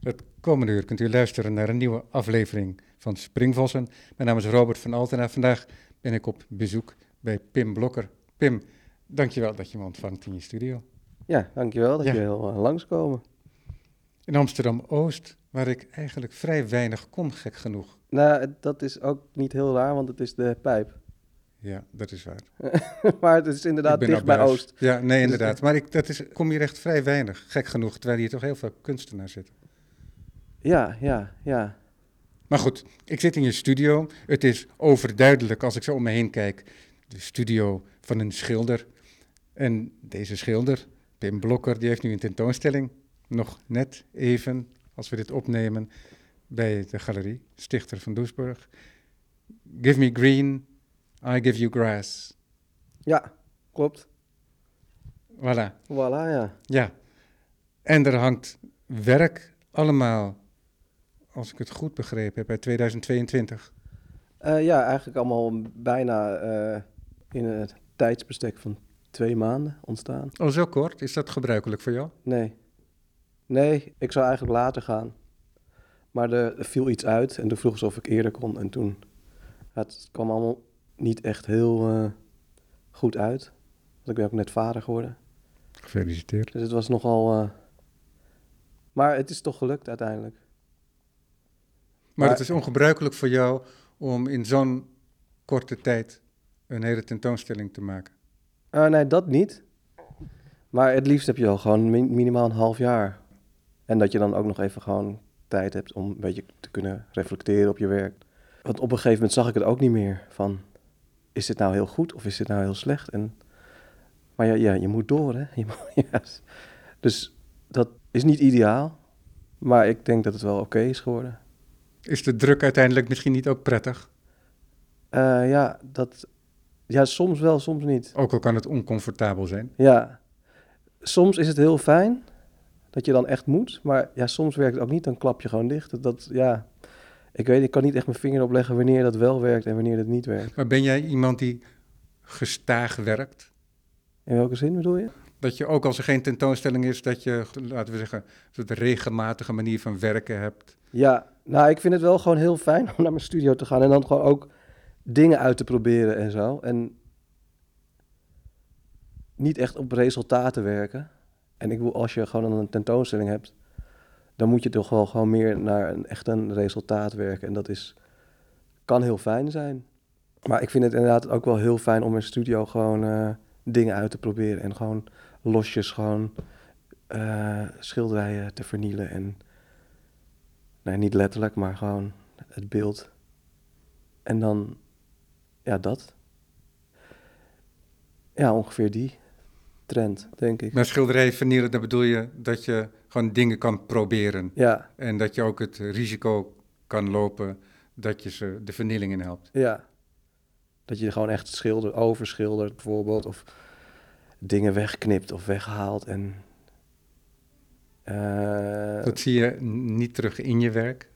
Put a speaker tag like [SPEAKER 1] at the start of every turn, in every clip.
[SPEAKER 1] Het komende uur kunt u luisteren naar een nieuwe aflevering van Springvossen. Mijn naam is Robert van Altena. Vandaag ben ik op bezoek bij Pim Blokker. Pim, dankjewel dat je me ontvangt in je studio.
[SPEAKER 2] Ja, dankjewel dat
[SPEAKER 1] Ja.
[SPEAKER 2] je wil eh, langskomen.
[SPEAKER 1] In Amsterdam-Oost, waar ik eigenlijk vrij weinig kom, gek genoeg.
[SPEAKER 2] Nou, het- dat is ook niet heel raar, want het is de pijp.
[SPEAKER 1] Ja, dat is waar.
[SPEAKER 2] maar het is
[SPEAKER 1] Ik
[SPEAKER 2] inderdaad
[SPEAKER 1] ben
[SPEAKER 2] dicht bij
[SPEAKER 1] Abbas.
[SPEAKER 2] Oost. Dus, eh,
[SPEAKER 1] Ja, nee, inderdaad. Maar ik dat is, kom hier echt vrij weinig, gek genoeg. Terwijl hier toch heel veel kunstenaars zitten.
[SPEAKER 2] Ja, ja, ja.
[SPEAKER 1] Maar goed, ik zit in je studio. Het is overduidelijk als ik zo om me heen kijk. De studio van een schilder. En deze schilder, Pim Blokker, die heeft nu een tentoonstelling. Nog net even, als we dit opnemen, bij de galerie Stichter van Doesburg. Give me green, I give you grass.
[SPEAKER 2] Ja, klopt.
[SPEAKER 1] Voilà.
[SPEAKER 2] Voilà, ja.
[SPEAKER 1] Ja, en er hangt werk allemaal, als ik het goed begrepen heb, uit 2022.
[SPEAKER 2] Eh, ja, eigenlijk allemaal bijna eh, in een tijdsbestek van twee maanden ontstaan.
[SPEAKER 1] Oh, zo kort? Is dat gebruikelijk voor jou?
[SPEAKER 2] Nee. Nee, ik zou eigenlijk later gaan. Maar er er viel iets uit en toen vroeg ze of ik eerder kon. En toen ja, het kwam allemaal niet echt heel eh, goed uit. Want ik ben ook net vader geworden.
[SPEAKER 1] Gefeliciteerd.
[SPEAKER 2] Dus het was nogal. eh, Maar het is toch gelukt uiteindelijk.
[SPEAKER 1] Maar
[SPEAKER 2] Maar-
[SPEAKER 1] het is ongebruikelijk voor jou om in zo'n korte tijd een hele tentoonstelling te maken.
[SPEAKER 2] Eh, nee, dat niet. Maar het liefst heb je wel gewoon min- minimaal een half jaar. En dat je dan ook nog even gewoon tijd hebt om een beetje te kunnen reflecteren op je werk. Want op een gegeven moment zag ik het ook niet meer van... is dit nou heel goed of is dit nou heel slecht? En, maar ja, ja, je moet door, hè? Je moet- ja. Dus dat is niet ideaal. Maar ik denk dat het wel oké is geworden.
[SPEAKER 1] Is de druk uiteindelijk misschien niet ook prettig?
[SPEAKER 2] Eh, ja, dat, ja, soms wel, soms niet.
[SPEAKER 1] Ook al kan het oncomfortabel zijn.
[SPEAKER 2] Ja, soms is het heel fijn dat je dan echt moet, maar ja, soms werkt het ook niet, dan klap je gewoon dicht. Dat, dat- ja, ik weet, ik kan niet echt mijn vinger opleggen wanneer dat wel werkt en wanneer dat niet werkt.
[SPEAKER 1] Maar ben jij iemand die gestaag werkt?
[SPEAKER 2] In welke zin bedoel je?
[SPEAKER 1] Dat je ook als er geen tentoonstelling is, dat je, laten we zeggen, een soort regelmatige manier van werken hebt.
[SPEAKER 2] Ja, nou, ik vind het wel gewoon heel fijn om naar mijn studio te gaan en dan gewoon ook dingen uit te proberen en zo. En niet echt op resultaten werken. En ik bedoel, als je gewoon een tentoonstelling hebt, dan moet je toch wel gewoon meer naar een, echt een resultaat werken. En dat is, kan heel fijn zijn. Maar ik vind het inderdaad ook wel heel fijn om in mijn studio gewoon eh, dingen uit te proberen. En gewoon losjes gewoon eh, schilderijen te vernielen en... Nee, niet letterlijk, maar gewoon het beeld. En dan, ja, dat. Ja, ongeveer die trend, denk ik.
[SPEAKER 1] Met schilderij vernielen, dan bedoel je dat je gewoon dingen kan proberen.
[SPEAKER 2] Ja,
[SPEAKER 1] En dat je ook het risico kan lopen dat je ze de vernieling in helpt.
[SPEAKER 2] ja. Dat je gewoon echt schilder, overschildert bijvoorbeeld. Of dingen wegknipt of weghaalt. En, eh,
[SPEAKER 1] Dat zie je n- niet terug in je werk.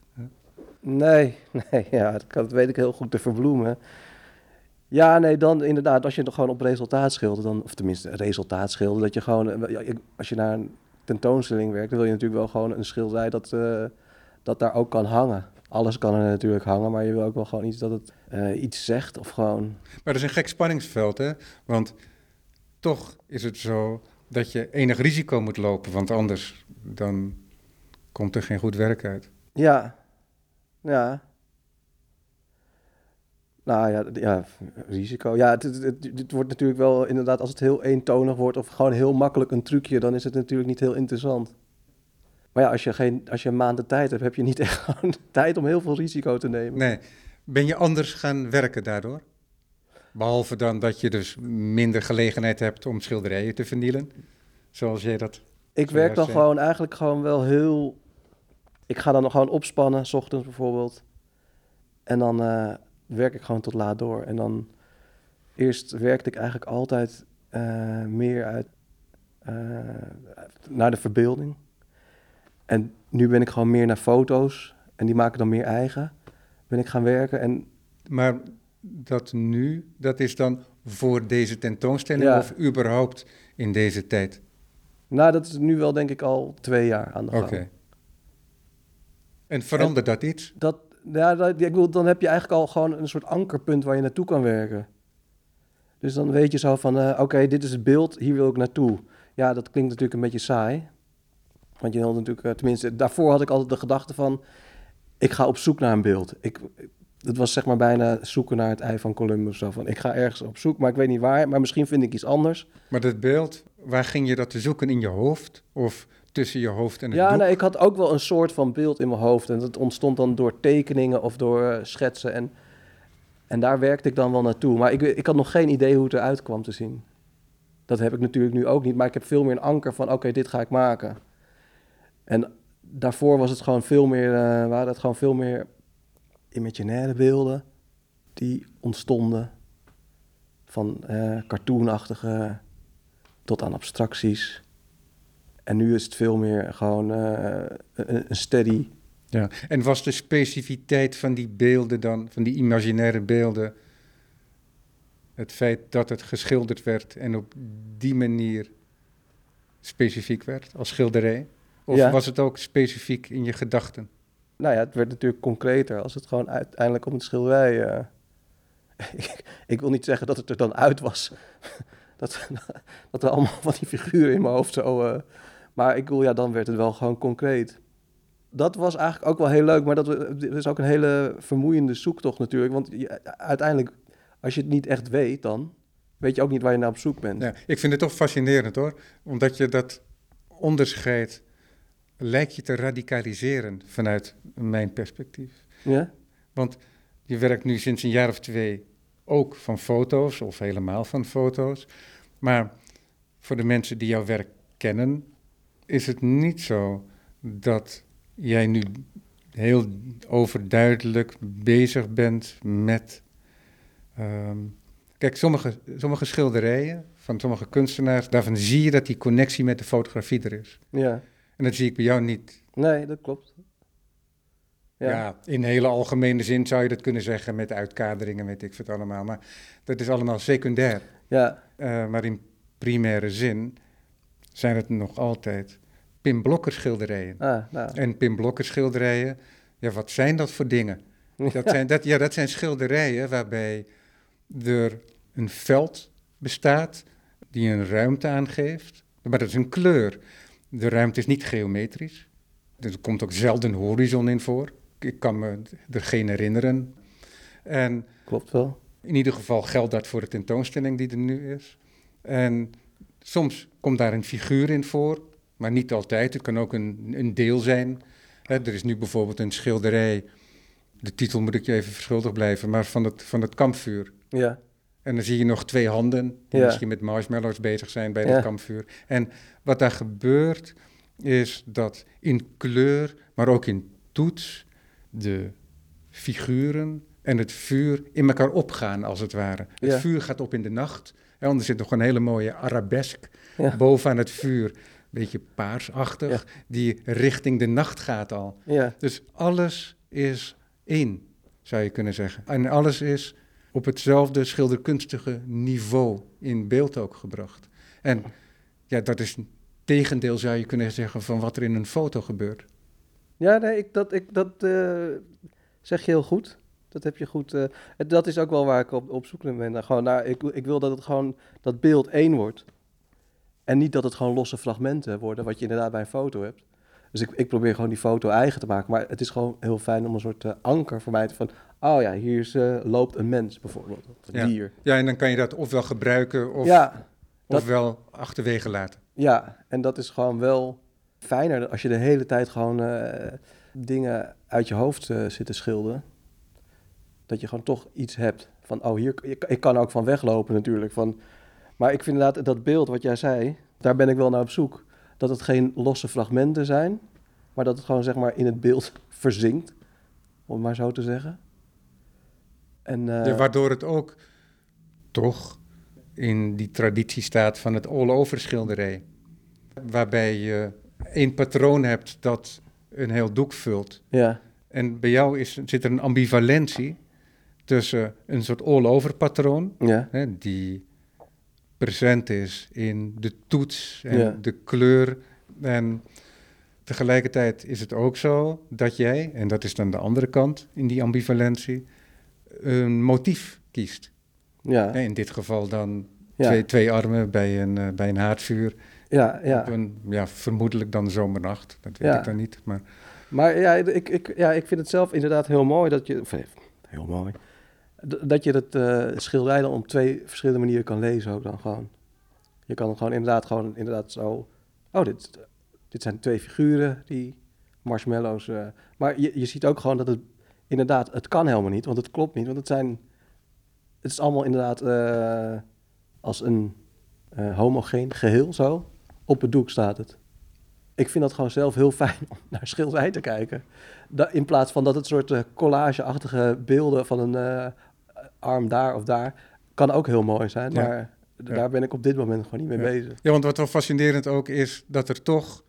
[SPEAKER 2] Nee, nee, ja, dat, kan, dat weet ik heel goed te verbloemen. Ja, nee, dan inderdaad, als je het gewoon op resultaat schildert, dan, of tenminste resultaat schildert, dat je gewoon, eh, ja, ik- als je naar een tentoonstelling werkt, dan wil je natuurlijk wel gewoon een schilderij dat, eh, dat daar ook kan hangen. Alles kan er natuurlijk hangen, maar je wil ook wel gewoon iets dat het eh, iets zegt of gewoon,
[SPEAKER 1] Maar dat is een gek spanningsveld, hè? Want toch is het zo dat je enig risico moet lopen, want anders dan komt er geen goed werk uit.
[SPEAKER 2] ja, ja. Nou ja, d- ja risico. Ja, het, het, het- het wordt natuurlijk wel inderdaad, als het heel eentonig wordt of gewoon heel makkelijk een trucje, dan is het natuurlijk niet heel interessant. Maar ja, als je, geen, als je een maand de tijd hebt, heb je niet echt gewoon de tijd om heel veel risico te nemen.
[SPEAKER 1] Nee, ben je anders gaan werken daardoor? Behalve dan dat je dus minder gelegenheid hebt om schilderijen te vernielen, zoals jij dat...
[SPEAKER 2] Ik
[SPEAKER 1] Zou
[SPEAKER 2] werk
[SPEAKER 1] jij
[SPEAKER 2] dan
[SPEAKER 1] zeggen-
[SPEAKER 2] gewoon eigenlijk gewoon wel heel. Ik ga dan gewoon opspannen, 's ochtends bijvoorbeeld. En dan eh, werk ik gewoon tot laat door. En dan eerst werkte ik eigenlijk altijd eh, meer uit eh, naar de verbeelding. En nu ben ik gewoon meer naar foto's. En die maken dan meer eigen. Ben ik gaan werken. En
[SPEAKER 1] Maar dat nu, dat is dan voor deze tentoonstelling
[SPEAKER 2] Ja.
[SPEAKER 1] of überhaupt in deze tijd?
[SPEAKER 2] nou, dat is nu wel denk ik al twee jaar aan de
[SPEAKER 1] Oké.
[SPEAKER 2] gang.
[SPEAKER 1] En verandert dat iets?
[SPEAKER 2] Dat, ja, dat, ik bedoel, dan heb je eigenlijk al gewoon een soort ankerpunt waar je naartoe kan werken. Dus dan weet je zo van, eh, oké, dit is het beeld, hier wil ik naartoe. Ja, dat klinkt natuurlijk een beetje saai. Want je had natuurlijk, eh, tenminste, daarvoor had ik altijd de gedachte van, ik ga op zoek naar een beeld. Ik, dat was zeg maar bijna zoeken naar het ei van Columbus of zo. Van, ik ga ergens op zoek, maar ik weet niet waar, maar misschien vind ik iets anders.
[SPEAKER 1] Maar dat beeld, waar ging je dat te zoeken in je hoofd? Of tussen je hoofd en het
[SPEAKER 2] Ja,
[SPEAKER 1] doek?
[SPEAKER 2] nee, ik had ook wel een soort van beeld in mijn hoofd. En dat ontstond dan door tekeningen of door eh, schetsen. En, en daar werkte ik dan wel naartoe. Maar ik, ik had nog geen idee hoe het eruit kwam te zien. Dat heb ik natuurlijk nu ook niet. Maar ik heb veel meer een anker van: oké, dit ga ik maken. En daarvoor was het gewoon veel meer, eh, waren het gewoon veel meer imaginaire beelden die ontstonden. Van eh, cartoonachtige tot aan abstracties. En nu is het veel meer gewoon eh, een, een steady.
[SPEAKER 1] Ja. En was de specificiteit van die beelden dan, van die imaginaire beelden, het feit dat het geschilderd werd en op die manier specifiek werd als schilderij? Of
[SPEAKER 2] Ja.
[SPEAKER 1] was het ook specifiek in je gedachten?
[SPEAKER 2] Nou ja, het werd natuurlijk concreter als het gewoon uiteindelijk om het schilderij. eh, ik, ik wil niet zeggen dat het er dan uit was. dat, dat er allemaal van die figuren in mijn hoofd zo. eh, maar ik bedoel, ja, dan werd het wel gewoon concreet. Dat was eigenlijk ook wel heel leuk, maar dat we- het is ook een hele vermoeiende zoektocht natuurlijk. Want je- uiteindelijk, als je het niet echt weet, dan weet je ook niet waar je naar op zoek bent.
[SPEAKER 1] Ja, ik vind het toch fascinerend hoor, omdat je dat onderscheid lijkt je te radicaliseren vanuit mijn perspectief.
[SPEAKER 2] Ja?
[SPEAKER 1] Want je werkt nu sinds een jaar of twee ook van foto's, of helemaal van foto's. Maar voor de mensen die jouw werk kennen, is het niet zo dat jij nu heel overduidelijk bezig bent met. ehm, kijk, sommige, sommige schilderijen van sommige kunstenaars, daarvan zie je dat die connectie met de fotografie er is.
[SPEAKER 2] ja.
[SPEAKER 1] En dat zie ik bij jou niet.
[SPEAKER 2] Nee, dat klopt.
[SPEAKER 1] Ja. in hele algemene zin zou je dat kunnen zeggen met uitkaderingen, weet ik veel allemaal. Maar dat is allemaal secundair.
[SPEAKER 2] Ja,
[SPEAKER 1] Eh, maar in primaire zin zijn het nog altijd Pim Blokker schilderijen.
[SPEAKER 2] ah, nou.
[SPEAKER 1] En Pim Blokker schilderijen, ja, wat zijn dat voor dingen? Dat zijn, dat, ja, dat zijn schilderijen waarbij er een veld bestaat die een ruimte aangeeft. Maar dat is een kleur. De ruimte is niet geometrisch. Er komt ook zelden horizon in voor. Ik kan me er geen herinneren. En
[SPEAKER 2] Klopt wel.
[SPEAKER 1] in ieder geval geldt dat voor de tentoonstelling die er nu is. En soms komt daar een figuur in voor, maar niet altijd. Het kan ook een, een deel zijn. Hè, er is nu bijvoorbeeld een schilderij, de titel moet ik je even verschuldigd blijven, maar van het, van het kampvuur.
[SPEAKER 2] Ja,
[SPEAKER 1] En dan zie je nog twee handen die
[SPEAKER 2] Ja.
[SPEAKER 1] misschien met marshmallows bezig zijn bij
[SPEAKER 2] Ja.
[SPEAKER 1] dat kampvuur. En wat daar gebeurt is dat in kleur, maar ook in toets, de figuren en het vuur in elkaar opgaan als het ware. Het
[SPEAKER 2] Ja.
[SPEAKER 1] vuur gaat op in de nacht. En anders zit nog een hele mooie arabesk
[SPEAKER 2] Ja.
[SPEAKER 1] bovenaan het vuur. Beetje paarsachtig,
[SPEAKER 2] Ja.
[SPEAKER 1] die richting de nacht gaat al.
[SPEAKER 2] ja,
[SPEAKER 1] Dus alles is één, zou je kunnen zeggen. En alles is op hetzelfde schilderkunstige niveau in beeld ook gebracht. En ja, dat is een tegendeel, zou je kunnen zeggen, van wat er in een foto gebeurt.
[SPEAKER 2] ja nee, ik, dat, ik, dat eh, zeg je heel goed. Dat heb je goed. eh, het- dat is ook wel waar ik op, op zoek naar ben. Nou, Gewoon naar, ik, ik wil dat het gewoon dat beeld één wordt. En niet dat het gewoon losse fragmenten worden, wat je inderdaad bij een foto hebt. Dus ik, ik probeer gewoon die foto eigen te maken. Maar het is gewoon heel fijn om een soort eh, anker voor mij te van. Oh ja, hier is, eh, loopt een mens bijvoorbeeld. Of een
[SPEAKER 1] Ja.
[SPEAKER 2] dier.
[SPEAKER 1] Ja, en dan kan je dat ofwel gebruiken of,
[SPEAKER 2] ja, dat-
[SPEAKER 1] ofwel achterwege laten.
[SPEAKER 2] Ja, en dat is gewoon wel fijner als je de hele tijd gewoon eh, dingen uit je hoofd eh, zit te schilderen. Dat je gewoon toch iets hebt van, oh hier, ik, ik kan er ook van weglopen natuurlijk. Van, maar ik vind inderdaad dat beeld wat jij zei, daar ben ik wel naar op zoek. Dat het geen losse fragmenten zijn, maar dat het gewoon zeg maar in het beeld verzinkt, om het maar zo te zeggen. En, eh,
[SPEAKER 1] Ja, waardoor het ook toch in die traditie staat van het all-over schilderij. Waarbij je één patroon hebt dat een heel doek vult.
[SPEAKER 2] ja,
[SPEAKER 1] En bij jou is, zit er een ambivalentie tussen een soort all-over patroon,
[SPEAKER 2] ja,
[SPEAKER 1] hè, die present is in de toets en
[SPEAKER 2] Ja.
[SPEAKER 1] de kleur. En Tegelijkertijd is het ook zo dat jij, en dat is dan de andere kant in die ambivalentie, een motief kiest.
[SPEAKER 2] Ja,
[SPEAKER 1] Nee, in dit geval dan
[SPEAKER 2] ja,
[SPEAKER 1] twee, twee armen bij een, eh, bij een haardvuur.
[SPEAKER 2] ja,
[SPEAKER 1] Op
[SPEAKER 2] ja.
[SPEAKER 1] een, ja, vermoedelijk dan zomernacht. Dat weet
[SPEAKER 2] Ja.
[SPEAKER 1] ik dan niet. Maar
[SPEAKER 2] Maar ja ik, ik, ja, ik vind het zelf inderdaad heel mooi dat je... Of, eh, heel mooi. D- Dat je dat eh, schilderij dan op twee verschillende manieren kan lezen ook dan gewoon. Je kan gewoon inderdaad gewoon inderdaad zo... Oh, dit, dit zijn twee figuren die marshmallows... eh, maar je, je ziet ook gewoon dat het inderdaad... Het kan helemaal niet, want het klopt niet. Want het zijn... Het is allemaal inderdaad eh, als een eh, homogeen geheel zo. Op het doek staat het. Ik vind dat gewoon zelf heel fijn om naar schilderij te kijken. Da- in plaats van dat het soort eh, collageachtige beelden van een eh, arm daar of daar... kan ook heel mooi zijn,
[SPEAKER 1] Ja.
[SPEAKER 2] maar d-
[SPEAKER 1] Ja.
[SPEAKER 2] daar ben ik op dit moment gewoon niet mee
[SPEAKER 1] Ja.
[SPEAKER 2] bezig.
[SPEAKER 1] Ja, want wat wel fascinerend ook is dat er toch,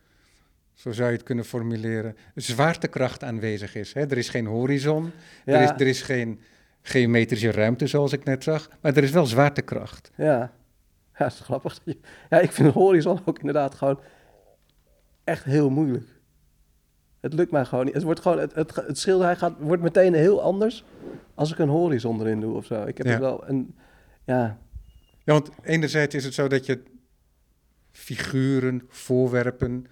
[SPEAKER 1] zo zou je het kunnen formuleren, zwaartekracht aanwezig is. Hè? Er is geen horizon,
[SPEAKER 2] Ja.
[SPEAKER 1] er, is, er is geen geometrische ruimte zoals ik net zag, maar er is wel zwaartekracht.
[SPEAKER 2] Ja, ja dat is grappig. Ja, ik vind horizon ook inderdaad gewoon echt heel moeilijk. Het lukt mij gewoon niet. Het, wordt gewoon, het, het, het schilderij gaat, wordt meteen heel anders als ik een horizon erin doe of zo. Ik heb
[SPEAKER 1] Ja.
[SPEAKER 2] het wel een... Ja,
[SPEAKER 1] Ja, want enerzijds is het zo dat je figuren, voorwerpen,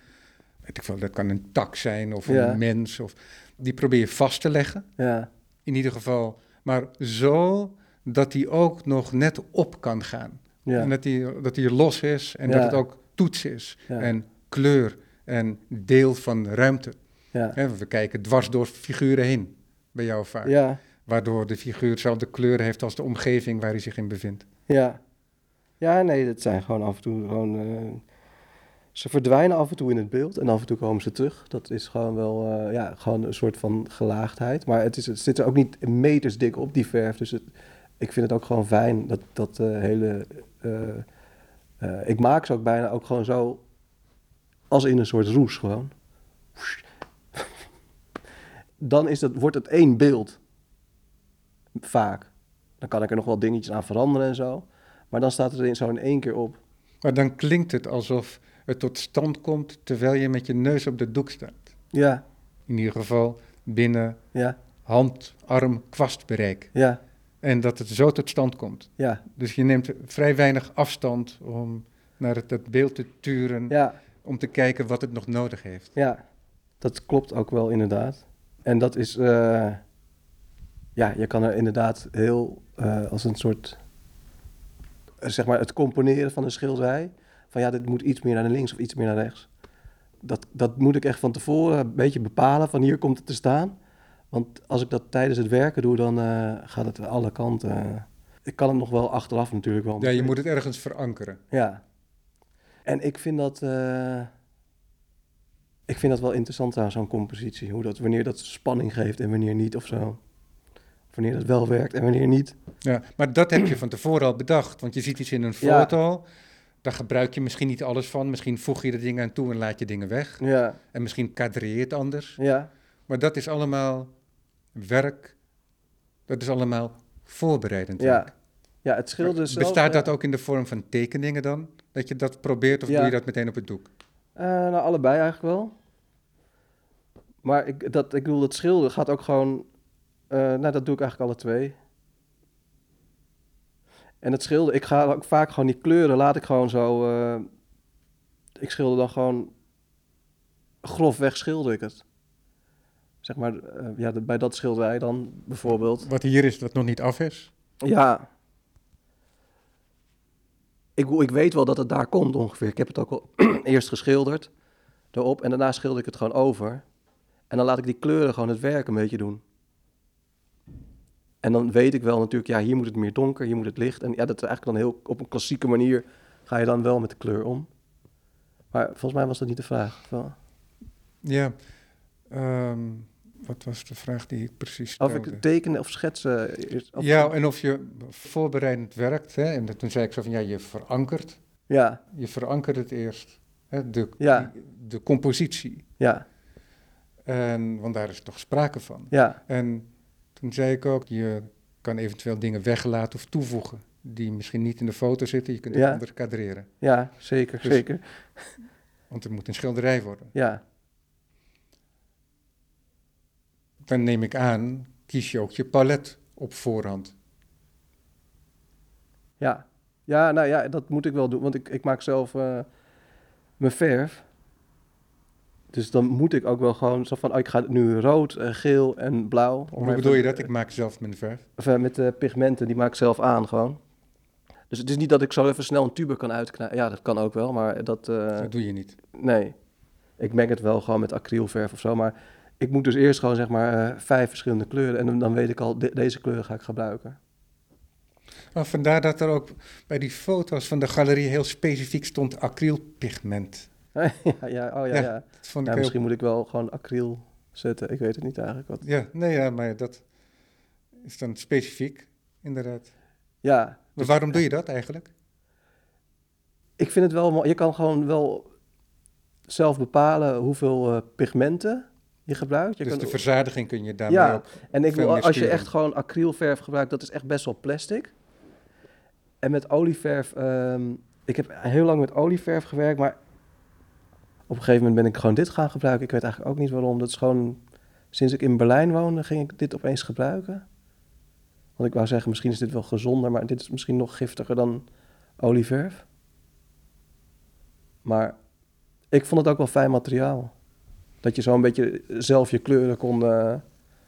[SPEAKER 1] weet ik veel, dat kan een tak zijn of
[SPEAKER 2] Ja.
[SPEAKER 1] een mens, of, die probeer je vast te leggen,
[SPEAKER 2] ja,
[SPEAKER 1] in ieder geval, maar zo dat die ook nog net op kan gaan.
[SPEAKER 2] ja.
[SPEAKER 1] En dat die, dat die los is en
[SPEAKER 2] Ja.
[SPEAKER 1] dat het ook toets is.
[SPEAKER 2] Ja.
[SPEAKER 1] En kleur en deel van ruimte.
[SPEAKER 2] ja.
[SPEAKER 1] Hè, We kijken dwars door figuren heen bij jou vaak.
[SPEAKER 2] Ja,
[SPEAKER 1] Waardoor de figuur dezelfde kleur heeft als de omgeving waar hij zich in bevindt.
[SPEAKER 2] ja. Ja, nee, dat zijn gewoon af en toe gewoon... eh, ze verdwijnen af en toe in het beeld en af en toe komen ze terug. Dat is gewoon wel eh, ja, gewoon een soort van gelaagdheid. Maar het, is, het zit er ook niet meters dik op, die verf. Dus het, ik vind het ook gewoon fijn dat dat eh, hele... eh, eh, ik maak ze ook bijna ook gewoon zo als in een soort roes gewoon. Dan is dat, wordt het één beeld. Vaak. Dan kan ik er nog wel dingetjes aan veranderen en zo. Maar dan staat het er in- zo in één keer op.
[SPEAKER 1] Maar dan klinkt het alsof het tot stand komt terwijl je met je neus op de doek staat.
[SPEAKER 2] Ja,
[SPEAKER 1] In ieder geval binnen
[SPEAKER 2] ja,
[SPEAKER 1] hand, arm, kwastbereik.
[SPEAKER 2] ja,
[SPEAKER 1] En dat het zo tot stand komt.
[SPEAKER 2] ja,
[SPEAKER 1] Dus je neemt vrij weinig afstand om naar het, dat beeld te turen.
[SPEAKER 2] ja,
[SPEAKER 1] om te kijken wat het nog nodig heeft.
[SPEAKER 2] ja. Dat klopt ook wel inderdaad. En dat is, eh, ja, je kan er inderdaad heel eh, als een soort, eh, zeg maar, het componeren van een schilderij. Van ja, dit moet iets meer naar links of iets meer naar rechts. Dat, dat moet ik echt van tevoren een beetje bepalen van hier komt het te staan. Want als ik dat tijdens het werken doe, dan eh, gaat het alle kanten. eh, Ik kan het nog wel achteraf natuurlijk wel.
[SPEAKER 1] Ja, je moet het ergens verankeren.
[SPEAKER 2] Ja. En ik vind dat. eh, ik vind dat wel interessant aan zo'n compositie. Hoe dat, wanneer dat spanning geeft en wanneer niet of zo. Of Wanneer dat wel werkt en wanneer niet.
[SPEAKER 1] Ja, maar dat heb je van tevoren al bedacht. Want je ziet iets in een
[SPEAKER 2] Ja.
[SPEAKER 1] foto. Daar gebruik je misschien niet alles van. Misschien voeg je er dingen aan toe en laat je dingen weg.
[SPEAKER 2] Ja,
[SPEAKER 1] En misschien kadreer je het anders.
[SPEAKER 2] ja,
[SPEAKER 1] Maar dat is allemaal werk. Dat is allemaal voorbereidend werk.
[SPEAKER 2] ja. Ja, het schilderen zelf...
[SPEAKER 1] Bestaat dat
[SPEAKER 2] eh,
[SPEAKER 1] ook in de vorm van tekeningen dan? Dat je dat probeert of
[SPEAKER 2] Ja.
[SPEAKER 1] doe je dat meteen op het doek?
[SPEAKER 2] eh, nou, allebei eigenlijk wel. Maar ik, dat, ik bedoel, dat schilderen gaat ook gewoon... eh, nou, dat doe ik eigenlijk alle twee. En het schilderen, ik ga ook vaak gewoon die kleuren, laat ik gewoon zo... eh, ik schilder dan gewoon... Grofweg schilder ik het. Zeg maar, eh, ja, de- bij dat schilderij dan bijvoorbeeld.
[SPEAKER 1] Wat hier is, wat nog niet af is.
[SPEAKER 2] Ja. Ik, bedoel, ik weet wel dat het daar komt ongeveer. Ik heb het ook al eerst geschilderd erop en daarna schilder ik het gewoon over. En dan laat ik die kleuren gewoon het werk een beetje doen. En dan weet ik wel natuurlijk, ja, hier moet het meer donker, hier moet het licht. En ja, dat is eigenlijk dan heel op een klassieke manier ga je dan wel met de kleur om. Maar volgens mij was dat niet de vraag. of wel?
[SPEAKER 1] Ja. Ehm, wat was de vraag die ik precies
[SPEAKER 2] Of
[SPEAKER 1] stelde?
[SPEAKER 2] ik tekenen of schetsen. eerst- of-
[SPEAKER 1] Ja, en of je voorbereidend werkt. Hè? En dat- toen zei ik zo van, ja, je verankert.
[SPEAKER 2] ja,
[SPEAKER 1] Je verankert het eerst. Hè? De,
[SPEAKER 2] Ja.
[SPEAKER 1] de compositie.
[SPEAKER 2] ja,
[SPEAKER 1] En, want daar is toch sprake van.
[SPEAKER 2] ja,
[SPEAKER 1] En toen zei ik ook, je kan eventueel dingen weglaten of toevoegen. Die misschien niet in de foto zitten. Je kunt het
[SPEAKER 2] Ja.
[SPEAKER 1] anders kadreren.
[SPEAKER 2] ja, zeker,
[SPEAKER 1] Dus-
[SPEAKER 2] zeker.
[SPEAKER 1] Want het moet een schilderij worden.
[SPEAKER 2] Ja.
[SPEAKER 1] dan neem ik aan, kies je ook je palet op voorhand.
[SPEAKER 2] Ja. ja, nou ja, dat moet ik wel doen, want ik, ik maak zelf eh, mijn verf. Dus dan moet ik ook wel gewoon zo van, oh, ik ga nu rood, eh, geel en blauw. Om
[SPEAKER 1] Hoe
[SPEAKER 2] even-
[SPEAKER 1] bedoel je dat? Ik maak zelf mijn verf.
[SPEAKER 2] Of, eh, met eh, pigmenten, die maak ik zelf aan gewoon. Dus het is niet dat ik zo even snel een tube kan uitknijpen. Ja, dat kan ook wel, maar dat... eh,
[SPEAKER 1] Dat doe je niet.
[SPEAKER 2] Nee. Ik meng het wel gewoon met acrylverf of zo. Maar ik moet dus eerst gewoon zeg maar eh, vijf verschillende kleuren. En dan- dan weet ik al, de- deze kleuren ga ik gebruiken.
[SPEAKER 1] Maar vandaar dat er ook bij die foto's van de galerie heel specifiek stond acrylpigment.
[SPEAKER 2] ja, ja, oh ja, ja.
[SPEAKER 1] Ja, Dat vond
[SPEAKER 2] Ja,
[SPEAKER 1] ik heel...
[SPEAKER 2] misschien moet ik wel gewoon acryl zetten. Ik weet het niet eigenlijk. Wat.
[SPEAKER 1] Ja, nee, ja, maar dat is dan specifiek, inderdaad.
[SPEAKER 2] Ja,
[SPEAKER 1] Maar waarom doe je dat eigenlijk?
[SPEAKER 2] ik vind het wel mooi. Je kan gewoon wel zelf bepalen hoeveel eh, pigmenten je gebruikt. Je
[SPEAKER 1] dus
[SPEAKER 2] kan
[SPEAKER 1] de verzadiging kun je daarmee
[SPEAKER 2] Ja,
[SPEAKER 1] ook...
[SPEAKER 2] en ik
[SPEAKER 1] veel
[SPEAKER 2] wil,
[SPEAKER 1] meer
[SPEAKER 2] als je
[SPEAKER 1] sturen.
[SPEAKER 2] echt gewoon acrylverf gebruikt, dat is echt best wel plastic. En met olieverf, ehm, ik heb heel lang met olieverf gewerkt, maar op een gegeven moment ben ik gewoon dit gaan gebruiken. Ik weet eigenlijk ook niet waarom. Dat is gewoon, sinds ik in Berlijn woonde, ging ik dit opeens gebruiken. Want ik wou zeggen, misschien is dit wel gezonder, maar dit is misschien nog giftiger dan olieverf. Maar ik vond het ook wel fijn materiaal. Dat je zo een beetje zelf je kleuren kon eh,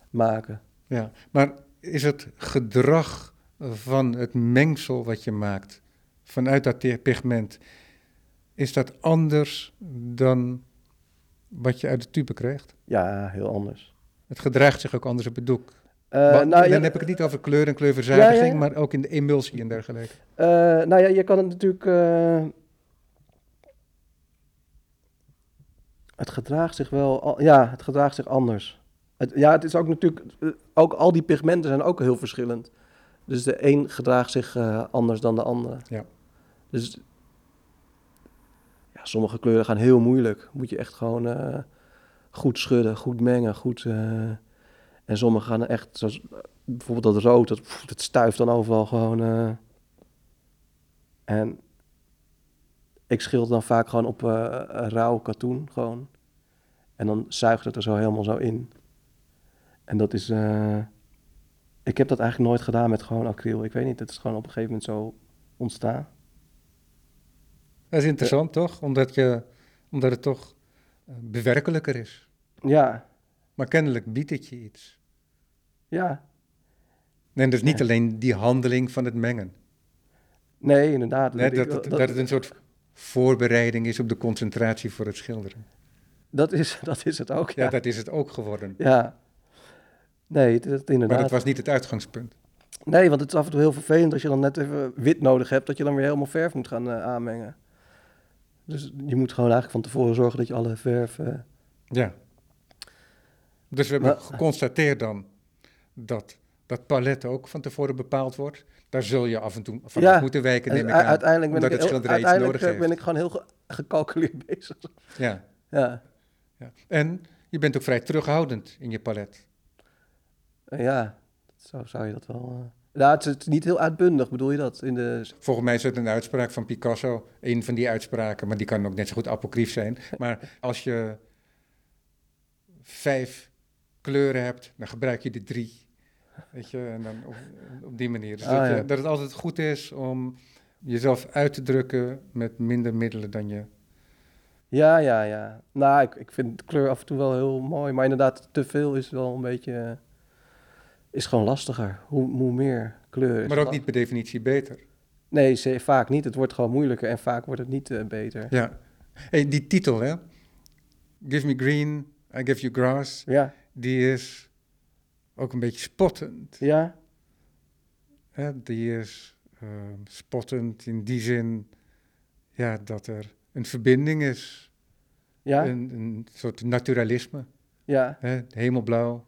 [SPEAKER 2] maken.
[SPEAKER 1] Ja, maar is het gedrag van het mengsel wat je maakt vanuit dat te- pigment, is dat anders dan wat je uit de tube krijgt?
[SPEAKER 2] Ja, heel anders.
[SPEAKER 1] Het gedraagt zich ook anders op het doek.
[SPEAKER 2] Eh,
[SPEAKER 1] Maar
[SPEAKER 2] nou,
[SPEAKER 1] dan
[SPEAKER 2] ja,
[SPEAKER 1] heb ik het niet over kleur en kleurverzadiging,
[SPEAKER 2] Ja, ja, ja.
[SPEAKER 1] maar ook in de emulsie en dergelijke.
[SPEAKER 2] eh, nou ja, je kan het natuurlijk. eh, het gedraagt zich wel. al- ja, het gedraagt zich anders. Het, ja, het is ook natuurlijk. eh, Ook al die pigmenten zijn ook heel verschillend. Dus de een gedraagt zich eh, anders dan de andere.
[SPEAKER 1] Ja.
[SPEAKER 2] Dus. Ja, sommige kleuren gaan heel moeilijk. Moet je echt gewoon eh, goed schudden, goed mengen, goed. eh, en sommige gaan echt. Zoals, bijvoorbeeld dat rood, dat, pff, dat stuift dan overal gewoon. eh. En ik schilder dan vaak gewoon op eh, rauw katoen gewoon. En dan zuigt het er zo helemaal zo in. En dat is... eh, ik heb dat eigenlijk nooit gedaan met gewoon acryl. Ik weet niet, het is gewoon op een gegeven moment zo ontstaan.
[SPEAKER 1] Dat is interessant, toch? Omdat, je, omdat het toch eh, bewerkelijker is.
[SPEAKER 2] Ja,
[SPEAKER 1] Maar kennelijk biedt het je iets.
[SPEAKER 2] ja.
[SPEAKER 1] En dus niet
[SPEAKER 2] Ja.
[SPEAKER 1] alleen die handeling van het mengen.
[SPEAKER 2] Nee, inderdaad.
[SPEAKER 1] Nee, dat,
[SPEAKER 2] ik-
[SPEAKER 1] het, dat het een soort voorbereiding is op de concentratie voor het schilderen.
[SPEAKER 2] dat is, dat is het ook,
[SPEAKER 1] Ja,
[SPEAKER 2] ja.
[SPEAKER 1] dat is het ook geworden.
[SPEAKER 2] Ja. Nee, dat, inderdaad.
[SPEAKER 1] Maar dat was niet het uitgangspunt.
[SPEAKER 2] Nee, want het is af en toe heel vervelend als je dan net even wit nodig hebt, dat je dan weer helemaal verf moet gaan eh, aanmengen. Dus je moet gewoon eigenlijk van tevoren zorgen dat je alle verf. eh,
[SPEAKER 1] Ja. Dus we hebben
[SPEAKER 2] Maar-
[SPEAKER 1] geconstateerd dan dat dat palet ook van tevoren bepaald wordt. Daar zul je af en toe van
[SPEAKER 2] Ja,
[SPEAKER 1] af moeten wijken, neem
[SPEAKER 2] u-
[SPEAKER 1] ik aan.
[SPEAKER 2] uiteindelijk ben
[SPEAKER 1] omdat het
[SPEAKER 2] ik, heel-
[SPEAKER 1] schilderij iets
[SPEAKER 2] uiteindelijk
[SPEAKER 1] nodig
[SPEAKER 2] eh, ben
[SPEAKER 1] heeft.
[SPEAKER 2] ik gewoon heel ge- gecalculeerd bezig.
[SPEAKER 1] Ja,
[SPEAKER 2] Ja,
[SPEAKER 1] ja. En je bent ook vrij terughoudend in je palet.
[SPEAKER 2] Eh, ja. Zo zou je dat wel. eh. Nou, het is, het is niet heel uitbundig, bedoel je dat? In de...
[SPEAKER 1] Volgens mij is dat een uitspraak van Picasso, een van die uitspraken, maar die kan ook net zo goed apocrief zijn. Maar als je vijf kleuren hebt, dan gebruik je de drie. Weet je, en dan op, op die manier. Dus
[SPEAKER 2] Ah,
[SPEAKER 1] dat, je-
[SPEAKER 2] ja.
[SPEAKER 1] dat het altijd goed is om jezelf uit te drukken met minder middelen dan je.
[SPEAKER 2] Ja, ja, ja. Nou, ik, ik vind de kleur af en toe wel heel mooi, maar inderdaad, te veel is wel een beetje. eh, is gewoon lastiger. Hoe, hoe meer kleur. is
[SPEAKER 1] Maar ook
[SPEAKER 2] lastig.
[SPEAKER 1] niet per definitie beter.
[SPEAKER 2] Nee, ze- vaak niet. Het wordt gewoon moeilijker en vaak wordt het niet eh, beter.
[SPEAKER 1] Ja. Hey, die titel, hè? Give me green, I give you grass.
[SPEAKER 2] Ja,
[SPEAKER 1] Die is ook een beetje spottend.
[SPEAKER 2] ja,
[SPEAKER 1] Hè, die is ehm, spottend in die zin ja, dat er een verbinding is.
[SPEAKER 2] ja,
[SPEAKER 1] Een, een soort naturalisme.
[SPEAKER 2] ja,
[SPEAKER 1] Hè? Hemelblauw,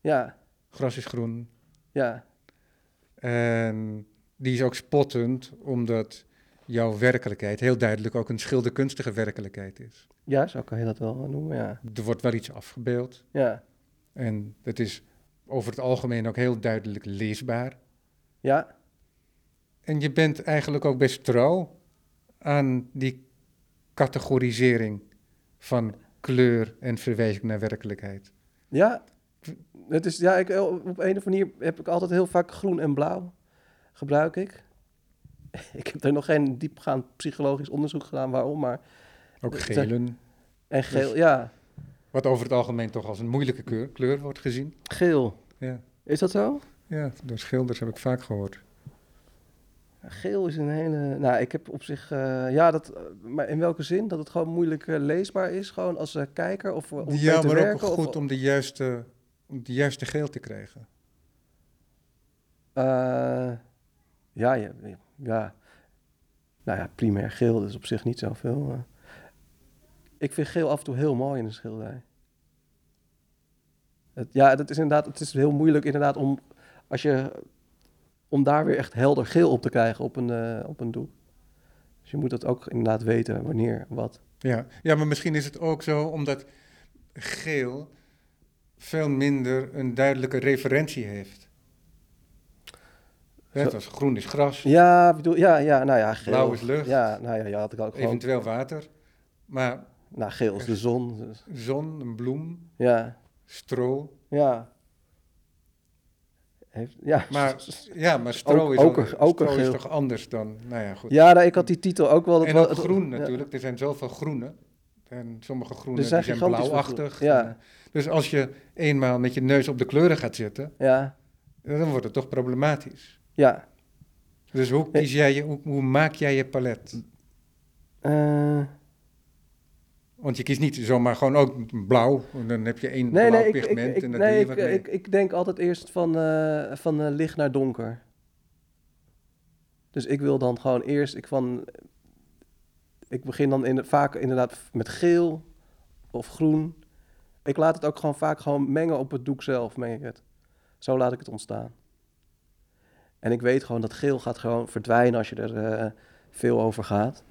[SPEAKER 2] ja,
[SPEAKER 1] gras is groen.
[SPEAKER 2] ja,
[SPEAKER 1] En die is ook spottend omdat jouw werkelijkheid heel duidelijk ook een schilderkunstige werkelijkheid is.
[SPEAKER 2] ja, zo kan je dat wel noemen, ja.
[SPEAKER 1] Er wordt wel iets afgebeeld
[SPEAKER 2] Ja,
[SPEAKER 1] en dat is over het algemeen ook heel duidelijk leesbaar.
[SPEAKER 2] ja,
[SPEAKER 1] En je bent eigenlijk ook best trouw aan die categorisering van kleur en verwijzing naar werkelijkheid.
[SPEAKER 2] ja, Het is, ja, ik, op een of andere manier heb ik altijd heel vaak groen en blauw. Gebruik ik. Ik heb er nog geen diepgaand psychologisch onderzoek gedaan waarom, maar...
[SPEAKER 1] Ook
[SPEAKER 2] Eh,
[SPEAKER 1] gelen,
[SPEAKER 2] En geel, ja.
[SPEAKER 1] wat over het algemeen toch als een moeilijke keur- kleur wordt gezien.
[SPEAKER 2] Geel.
[SPEAKER 1] Ja.
[SPEAKER 2] Is dat zo?
[SPEAKER 1] ja, door schilders heb ik vaak gehoord.
[SPEAKER 2] Geel is een hele... Nou, ik heb op zich... eh, ja, dat, eh, maar in welke zin? Dat het gewoon moeilijk eh, leesbaar is, gewoon als eh, kijker of eh, om mee
[SPEAKER 1] ja,
[SPEAKER 2] te
[SPEAKER 1] maar ook
[SPEAKER 2] werken? of-
[SPEAKER 1] goed om de juiste, om de juiste geel te krijgen.
[SPEAKER 2] Eh, ja, ja, ja. Nou ja, primair geel, dat is op zich niet zoveel. maar- Ik vind geel af en toe heel mooi in een schilderij. Het, ja, dat is inderdaad, het is heel moeilijk inderdaad om, als je, om daar weer echt helder geel op te krijgen op een, eh, op een doek. Dus je moet dat ook inderdaad weten, wanneer, wat.
[SPEAKER 1] Ja. ja, maar misschien is het ook zo omdat geel veel minder een duidelijke referentie heeft. Hè,
[SPEAKER 2] Zo-
[SPEAKER 1] Het was groen is gras,
[SPEAKER 2] Ja, bedoel, ja, ja, nou ja, geel.
[SPEAKER 1] Blauw is lucht.
[SPEAKER 2] Ja, nou ja, ja had ik ook gewoon.
[SPEAKER 1] eventueel water, maar
[SPEAKER 2] Nou, geel is de zon. dus-
[SPEAKER 1] zon, een bloem,
[SPEAKER 2] ja.
[SPEAKER 1] stro.
[SPEAKER 2] Ja. Heeft, ja.
[SPEAKER 1] Maar, ja, maar stro,
[SPEAKER 2] Ook-
[SPEAKER 1] is, al-
[SPEAKER 2] oker- okergeel.
[SPEAKER 1] stro is toch anders dan, nou ja, goed.
[SPEAKER 2] ja, nou, ik had die titel ook wel. dat
[SPEAKER 1] en
[SPEAKER 2] wel-
[SPEAKER 1] ook
[SPEAKER 2] het-
[SPEAKER 1] groen
[SPEAKER 2] ja.
[SPEAKER 1] natuurlijk. Er zijn zoveel groene. En sommige groene
[SPEAKER 2] Er
[SPEAKER 1] zijn,
[SPEAKER 2] zijn
[SPEAKER 1] die zijn
[SPEAKER 2] gigantisch veel
[SPEAKER 1] blauwachtig.
[SPEAKER 2] groen, ja.
[SPEAKER 1] Dus als je eenmaal met je neus op de kleuren gaat zitten, eh,
[SPEAKER 2] Ja,
[SPEAKER 1] dan wordt het toch problematisch.
[SPEAKER 2] ja.
[SPEAKER 1] Dus hoe, kies jij je, hoe, hoe maak jij je palet?
[SPEAKER 2] Eh,
[SPEAKER 1] Want je kiest niet zomaar gewoon ook blauw. En dan heb je één
[SPEAKER 2] nee,
[SPEAKER 1] blauw
[SPEAKER 2] nee, ik, ik,
[SPEAKER 1] pigment
[SPEAKER 2] ik,
[SPEAKER 1] en daar doe
[SPEAKER 2] nee
[SPEAKER 1] je
[SPEAKER 2] ik,
[SPEAKER 1] wat mee.
[SPEAKER 2] ik, ik denk altijd eerst van, eh, van eh, licht naar donker. Dus ik wil dan gewoon eerst, ik van, ik begin dan in, vaak inderdaad met geel of groen. Ik laat het ook gewoon vaak gewoon mengen op het doek zelf, meng ik het. Zo laat ik het ontstaan. En ik weet gewoon dat geel gaat gewoon verdwijnen als je er eh, veel over gaat.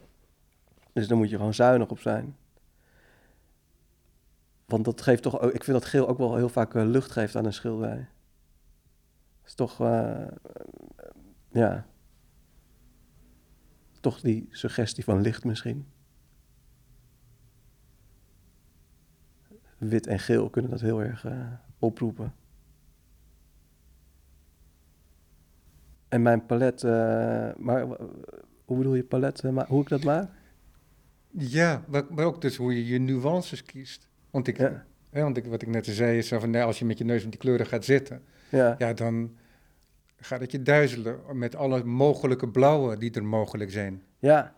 [SPEAKER 2] Dus dan moet je gewoon zuinig op zijn. Want dat geeft toch ook, ik vind dat geel ook wel heel vaak eh, lucht geeft aan een schilderij. is toch, eh, eh, ja. Toch die suggestie van licht misschien. Wit en geel kunnen dat heel erg eh, oproepen. En mijn palet, eh, maar w- hoe bedoel je palet, eh, ma- hoe ik dat maak?
[SPEAKER 1] Ja, maar, maar ook dus hoe je je nuances kiest. Want, ik,
[SPEAKER 2] Ja.
[SPEAKER 1] hè, want ik, wat ik net zei is zo van, nou, als je met je neus op die kleuren gaat zitten,
[SPEAKER 2] Ja,
[SPEAKER 1] ja, dan gaat het je duizelen met alle mogelijke blauwen die er mogelijk zijn.
[SPEAKER 2] ja,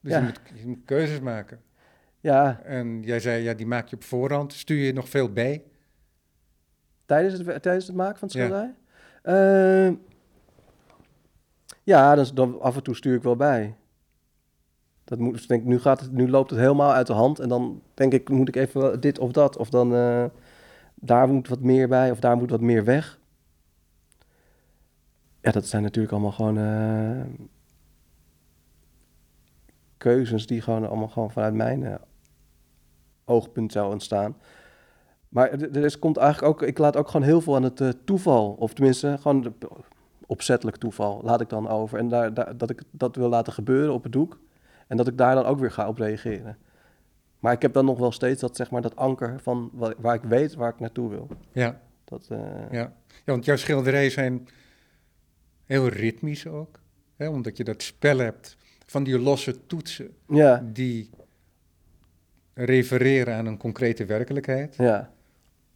[SPEAKER 1] Dus
[SPEAKER 2] Ja.
[SPEAKER 1] je, moet, je moet keuzes maken.
[SPEAKER 2] ja.
[SPEAKER 1] En jij zei, ja, die maak je op voorhand. Stuur je nog veel bij?
[SPEAKER 2] Tijdens het, wer- tijdens het maken van het
[SPEAKER 1] Ja.
[SPEAKER 2] schilderij? Ja, ja dan, dan af en toe stuur ik wel bij. Dat moet, dus denk, ik, nu, gaat het, nu loopt het helemaal uit de hand. En dan denk ik, moet ik even wel dit of dat. Of dan eh, daar moet wat meer bij. Of daar moet wat meer weg. Ja, dat zijn natuurlijk allemaal gewoon... eh, keuzes die gewoon allemaal gewoon vanuit mijn eh, oogpunt zou ontstaan. Maar er er is, komt eigenlijk ook, ik laat ook gewoon heel veel aan het eh, toeval, of tenminste gewoon de- opzettelijk toeval, laat ik dan over. En daar, daar- dat ik dat wil laten gebeuren op het doek en dat ik daar dan ook weer ga op reageren. Maar ik heb dan nog wel steeds dat, zeg maar, dat anker van wa- waar ik weet waar ik naartoe wil.
[SPEAKER 1] Ja,
[SPEAKER 2] Dat, eh,
[SPEAKER 1] ja. ja want jouw schilderijen zijn heel ritmisch ook. Hè? Omdat je dat spel hebt van die losse toetsen
[SPEAKER 2] ja,
[SPEAKER 1] die refereren aan een concrete werkelijkheid.
[SPEAKER 2] ja,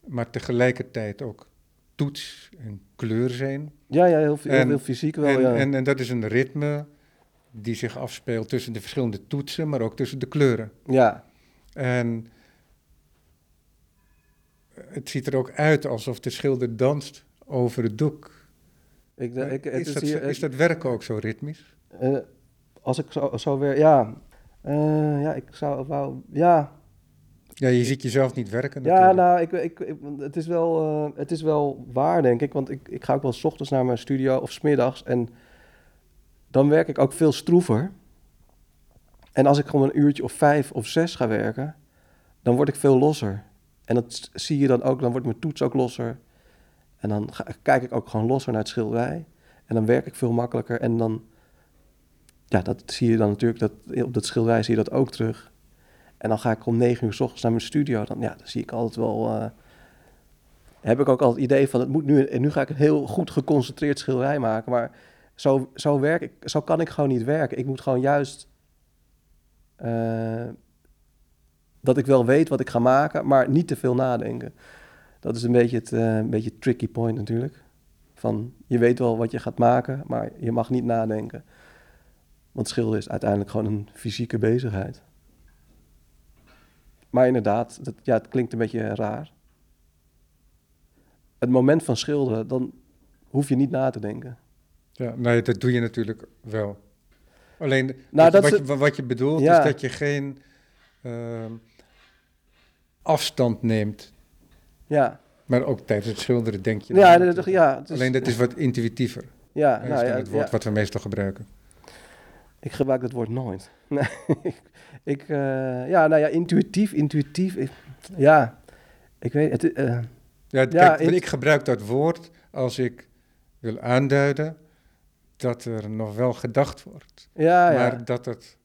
[SPEAKER 1] Maar tegelijkertijd ook toets en kleur zijn.
[SPEAKER 2] ja, ja, heel, veel- heel
[SPEAKER 1] En-
[SPEAKER 2] veel fysiek wel.
[SPEAKER 1] En,
[SPEAKER 2] ja.
[SPEAKER 1] en, en dat is een ritme die zich afspeelt tussen de verschillende toetsen, maar ook tussen de kleuren.
[SPEAKER 2] ja,
[SPEAKER 1] En het ziet er ook uit alsof de schilder danst over het doek.
[SPEAKER 2] ik, ik, het
[SPEAKER 1] is,
[SPEAKER 2] is
[SPEAKER 1] dat,
[SPEAKER 2] hier-
[SPEAKER 1] is dat werk ook zo ritmisch?
[SPEAKER 2] Eh, als ik zo, zo weer, ja. Eh, ja, ik zou wou, ja.
[SPEAKER 1] Ja, je ziet jezelf niet werken
[SPEAKER 2] Ja,
[SPEAKER 1] natuurlijk.
[SPEAKER 2] nou, ik, ik, ik- het, is wel, eh, het is wel waar, denk ik. Want ik, ik ga ook wel s ochtends naar mijn studio of smiddags. En dan werk ik ook veel stroever. En als ik gewoon een uurtje of vijf of zes ga werken, dan word ik veel losser. En dat s- zie je dan ook, dan wordt mijn toets ook losser. En dan ga, kijk ik ook gewoon losser naar het schilderij. En dan werk ik veel makkelijker. En dan, ja, dat zie je dan natuurlijk, dat, op dat schilderij zie je dat ook terug. En dan ga ik om negen uur s ochtends naar mijn studio. Dan, ja, dan zie ik altijd wel eh, heb ik ook al het idee van, het moet nu, en nu ga ik een heel goed geconcentreerd schilderij maken. Maar zo, zo, werk ik, zo kan ik gewoon niet werken. Ik moet gewoon juist eh, dat ik wel weet wat ik ga maken, maar niet te veel nadenken. Dat is een beetje het eh, een beetje tricky point natuurlijk. Van je weet wel wat je gaat maken, maar je mag niet nadenken. Want schilderen is uiteindelijk gewoon een fysieke bezigheid. Maar inderdaad, dat, ja, het klinkt een beetje raar. Het moment van schilderen, dan hoef je niet na te denken.
[SPEAKER 1] Ja, nee, dat doe je natuurlijk wel. Alleen wat, je-
[SPEAKER 2] Nou, dat
[SPEAKER 1] wat
[SPEAKER 2] is-
[SPEAKER 1] je, wat je bedoelt
[SPEAKER 2] Ja.
[SPEAKER 1] is dat je geen ehm, afstand neemt.
[SPEAKER 2] Ja,
[SPEAKER 1] Maar ook tijdens het schilderen denk je.
[SPEAKER 2] ja,
[SPEAKER 1] dan
[SPEAKER 2] dat, ja, het is-
[SPEAKER 1] Alleen dat is wat intuïtiever.
[SPEAKER 2] ja,
[SPEAKER 1] Dat
[SPEAKER 2] nou
[SPEAKER 1] is
[SPEAKER 2] ja,
[SPEAKER 1] dan het woord
[SPEAKER 2] ja.
[SPEAKER 1] wat we meestal gebruiken.
[SPEAKER 2] Ik gebruik dat woord nooit. Nee, ik, ik, eh, ja, nou ja, intuïtief, intuïtief. ik- ja, ik weet het. eh,
[SPEAKER 1] Ja,
[SPEAKER 2] Ja,
[SPEAKER 1] kijk,
[SPEAKER 2] in-
[SPEAKER 1] ik gebruik dat woord als ik wil aanduiden dat er nog wel gedacht wordt.
[SPEAKER 2] Ah, ja, ja,
[SPEAKER 1] Maar dat het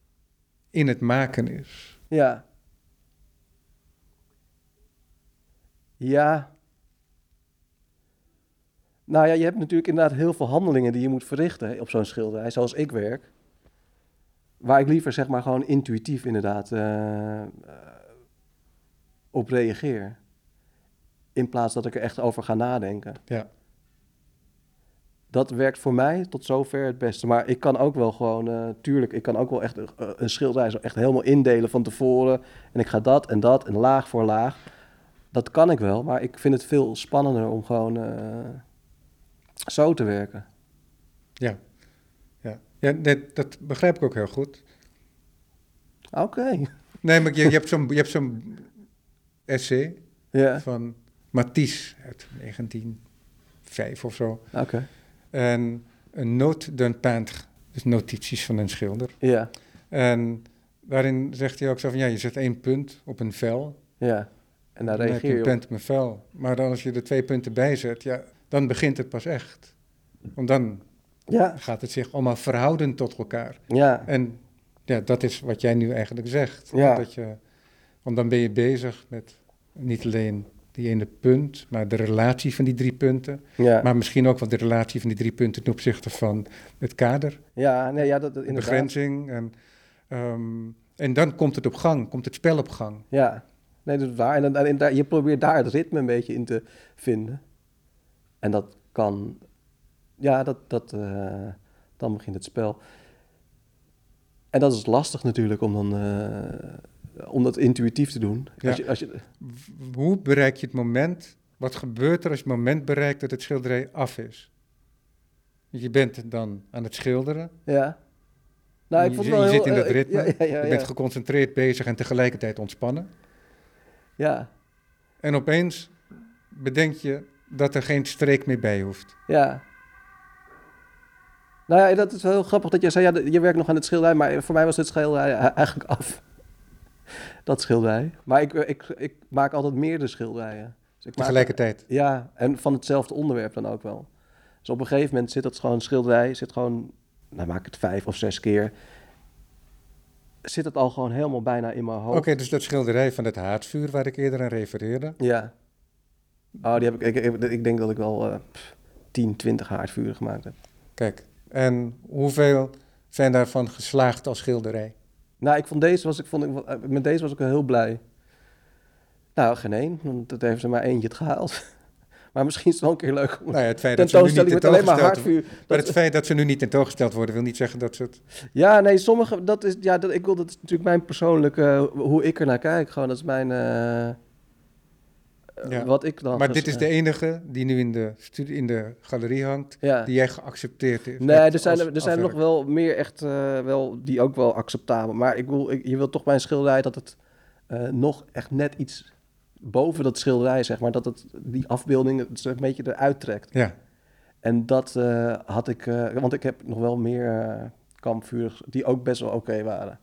[SPEAKER 1] in het maken is.
[SPEAKER 2] ja. Ja. Nou ja, je hebt natuurlijk inderdaad heel veel handelingen die je moet verrichten op zo'n schilderij, zoals ik werk. Waar ik liever zeg maar gewoon intuïtief inderdaad eh, eh, op reageer. In plaats dat ik er echt over ga nadenken.
[SPEAKER 1] Ja.
[SPEAKER 2] dat werkt voor mij tot zover het beste. Maar ik kan ook wel gewoon, eh, tuurlijk, ik kan ook wel echt eh, een schilderij zo echt helemaal indelen van tevoren. En ik ga dat en dat en laag voor laag. Dat kan ik wel, maar ik vind het veel spannender om gewoon eh, zo te werken.
[SPEAKER 1] Ja, ja. ja nee, dat begrijp ik ook heel goed.
[SPEAKER 2] Oké.
[SPEAKER 1] Nee, maar je, je hebt zo'n je hebt zo'n essay
[SPEAKER 2] Ja,
[SPEAKER 1] van Matisse uit 1905 of zo.
[SPEAKER 2] oké.
[SPEAKER 1] En een noot d'un peintre, dus notities van een schilder.
[SPEAKER 2] Ja,
[SPEAKER 1] En daarin zegt hij ook zo van, ja, je zet één punt op een vel.
[SPEAKER 2] ja. En daar
[SPEAKER 1] dan heb
[SPEAKER 2] reageer
[SPEAKER 1] je een
[SPEAKER 2] je op.
[SPEAKER 1] punt op een vel. Maar dan als je er twee punten bij zet, ja, dan begint het pas echt. Want dan
[SPEAKER 2] Ja,
[SPEAKER 1] gaat het zich allemaal verhouden tot elkaar.
[SPEAKER 2] ja,
[SPEAKER 1] En ja, dat is wat jij nu eigenlijk zegt.
[SPEAKER 2] Ja.
[SPEAKER 1] Dat je, want dan ben je bezig met niet alleen die ene punt, maar de relatie van die drie punten.
[SPEAKER 2] ja.
[SPEAKER 1] Maar misschien ook wel de relatie van die drie punten ten opzichte van het kader,
[SPEAKER 2] Ja, nee, ja, dat, dat
[SPEAKER 1] de
[SPEAKER 2] inderdaad.
[SPEAKER 1] begrenzing. En, ehm, en dan komt het op gang, komt het spel op gang.
[SPEAKER 2] Ja, nee, dat is waar. En, dan- en daar, je probeert daar het ritme een beetje in te vinden. En dat kan. Ja, dat, dat, eh, dan begint het spel. En dat is lastig natuurlijk om, dan, eh, om dat intuïtief te doen.
[SPEAKER 1] Ja.
[SPEAKER 2] Als je, als je,
[SPEAKER 1] W- Hoe bereik je het moment? Wat gebeurt er als je het moment bereikt dat het schilderij af is? Je bent dan aan het schilderen.
[SPEAKER 2] ja. Nou, ik
[SPEAKER 1] je
[SPEAKER 2] vond
[SPEAKER 1] je,
[SPEAKER 2] het wel
[SPEAKER 1] je
[SPEAKER 2] heel,
[SPEAKER 1] zit in dat
[SPEAKER 2] eh,
[SPEAKER 1] ritme.
[SPEAKER 2] Ja, ja, ja,
[SPEAKER 1] je
[SPEAKER 2] ja,
[SPEAKER 1] bent geconcentreerd bezig en tegelijkertijd ontspannen.
[SPEAKER 2] ja,
[SPEAKER 1] En opeens bedenk je dat er geen streek meer bij hoeft.
[SPEAKER 2] ja. Nou ja, dat is wel heel grappig dat jij zei, ja, je werkt nog aan het schilderij, maar voor mij was het schilderij eigenlijk af. Dat schilderij. Maar ik, ik, ik maak altijd meerdere schilderijen. Dus ik maak-
[SPEAKER 1] Tegelijkertijd.
[SPEAKER 2] Ja, en van hetzelfde onderwerp dan ook wel. Dus op een gegeven moment zit dat gewoon schilderij, zit gewoon, nou maak ik het vijf of zes keer, zit het al gewoon helemaal bijna in mijn hoofd.
[SPEAKER 1] Oké, dus dat schilderij van het haatvuur waar ik eerder aan refereerde.
[SPEAKER 2] Ja. Oh, die heb ik, ik, ik, ik denk dat ik wel eh, pff, 10, 20 haardvuren gemaakt heb.
[SPEAKER 1] Kijk, en hoeveel zijn daarvan geslaagd als schilderij?
[SPEAKER 2] Nou, ik vond deze, was, ik vond, ik, eh, met deze was ik wel heel blij. Nou, geen één, want dat heeft er maar eentje het gehaald. Maar misschien is het wel een keer leuk om
[SPEAKER 1] Nou ja, het feit
[SPEAKER 2] een
[SPEAKER 1] dat ze nu niet
[SPEAKER 2] tentoonstelling met alleen maar
[SPEAKER 1] tentoongesteld worden.
[SPEAKER 2] haardvuur.
[SPEAKER 1] Maar het feit dat ze nu niet tentoongesteld worden, wil niet zeggen dat ze het...
[SPEAKER 2] Ja, nee, sommige, dat is, ja, dat, ik wil, dat is natuurlijk mijn persoonlijke, eh, hoe ik er naar kijk. Gewoon, dat is mijn, eh, eh,
[SPEAKER 1] Ja.
[SPEAKER 2] wat ik dan...
[SPEAKER 1] Maar
[SPEAKER 2] ges-
[SPEAKER 1] dit is de enige die nu in de, studie, in de galerie hangt,
[SPEAKER 2] Ja.
[SPEAKER 1] die jij geaccepteerd heeft.
[SPEAKER 2] Nee,
[SPEAKER 1] hebt
[SPEAKER 2] er zijn,
[SPEAKER 1] als
[SPEAKER 2] er, er zijn nog
[SPEAKER 1] afwerk.
[SPEAKER 2] wel meer echt, eh, wel, die ook wel acceptabel. Maar ik wil, ik, je wil toch bij een schilderij dat het eh, nog echt net iets boven dat schilderij, zeg maar. Dat het die afbeelding het een beetje eruit trekt.
[SPEAKER 1] Ja,
[SPEAKER 2] En dat eh, had ik, eh, want ik heb nog wel meer eh, kampvuren die ook best wel oké waren.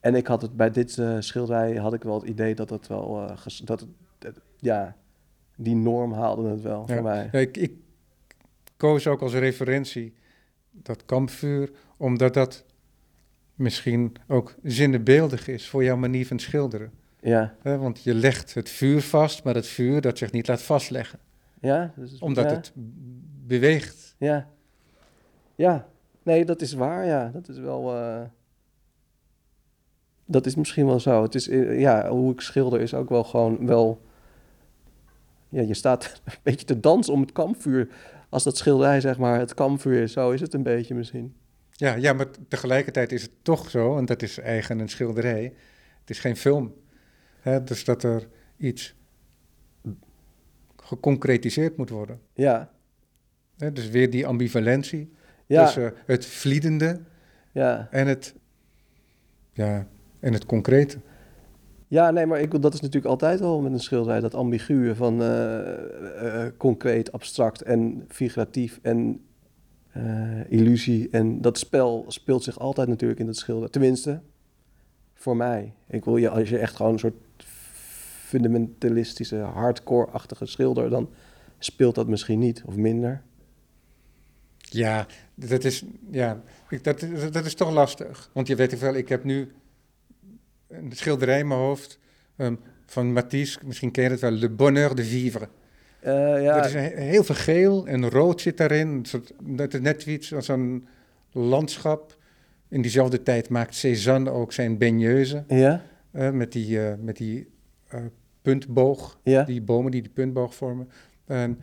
[SPEAKER 2] En ik had het bij dit eh, schilderij had ik wel het idee dat het wel, eh, ges- dat het, dat- ja, die norm haalde het wel
[SPEAKER 1] Ja.
[SPEAKER 2] voor mij.
[SPEAKER 1] Ja, ik, ik koos ook als referentie dat kampvuur, omdat dat misschien ook zinnebeeldig is voor jouw manier van schilderen.
[SPEAKER 2] Ja,
[SPEAKER 1] Hè, want je legt het vuur vast, maar het vuur dat zich niet laat vastleggen.
[SPEAKER 2] Ja, dus-
[SPEAKER 1] Omdat
[SPEAKER 2] ja,
[SPEAKER 1] het b- beweegt.
[SPEAKER 2] Ja. Ja. Nee, dat is waar, ja. Dat is wel... eh, Dat is misschien wel zo. Het is, eh, ja, hoe ik schilder is ook wel gewoon wel... Ja, je staat een beetje te dansen om het kampvuur. Als dat schilderij, zeg maar, het kampvuur is. Zo is het een beetje misschien.
[SPEAKER 1] Ja, ja, maar tegelijkertijd is het toch zo, en dat is eigen een schilderij. Het is geen film. Hè? Dus dat er iets geconcretiseerd moet worden.
[SPEAKER 2] Ja.
[SPEAKER 1] Hè? Dus weer die ambivalentie
[SPEAKER 2] Ja.
[SPEAKER 1] tussen het vliedende
[SPEAKER 2] ja.
[SPEAKER 1] en het, ja, en het concrete.
[SPEAKER 2] Ja, nee, maar ik, bedoel, dat is natuurlijk altijd wel met een schilderij, dat ambiguë van eh, eh, concreet, abstract en figuratief en eh, illusie. En dat spel speelt zich altijd natuurlijk in dat schilderij. Tenminste, voor mij. Ik wil, ja, als je echt gewoon een soort fundamentalistische, hardcore-achtige schilder, dan speelt dat misschien niet, of minder.
[SPEAKER 1] Ja, dat is, ja, ik, dat, dat is toch lastig. Want je weet ik wel, ik heb nu een schilderij in mijn hoofd ehm, van Matisse, misschien ken je het wel, Le Bonheur de Vivre.
[SPEAKER 2] Eh,
[SPEAKER 1] Er
[SPEAKER 2] ja,
[SPEAKER 1] is een- heel veel geel en rood zit daarin. Een soort- Dat is net iets als een landschap. In diezelfde tijd maakt Cézanne ook zijn baigneuze
[SPEAKER 2] ja,
[SPEAKER 1] eh, met die, eh, met die eh, puntboog.
[SPEAKER 2] ja,
[SPEAKER 1] Die bomen die die puntboog vormen. En,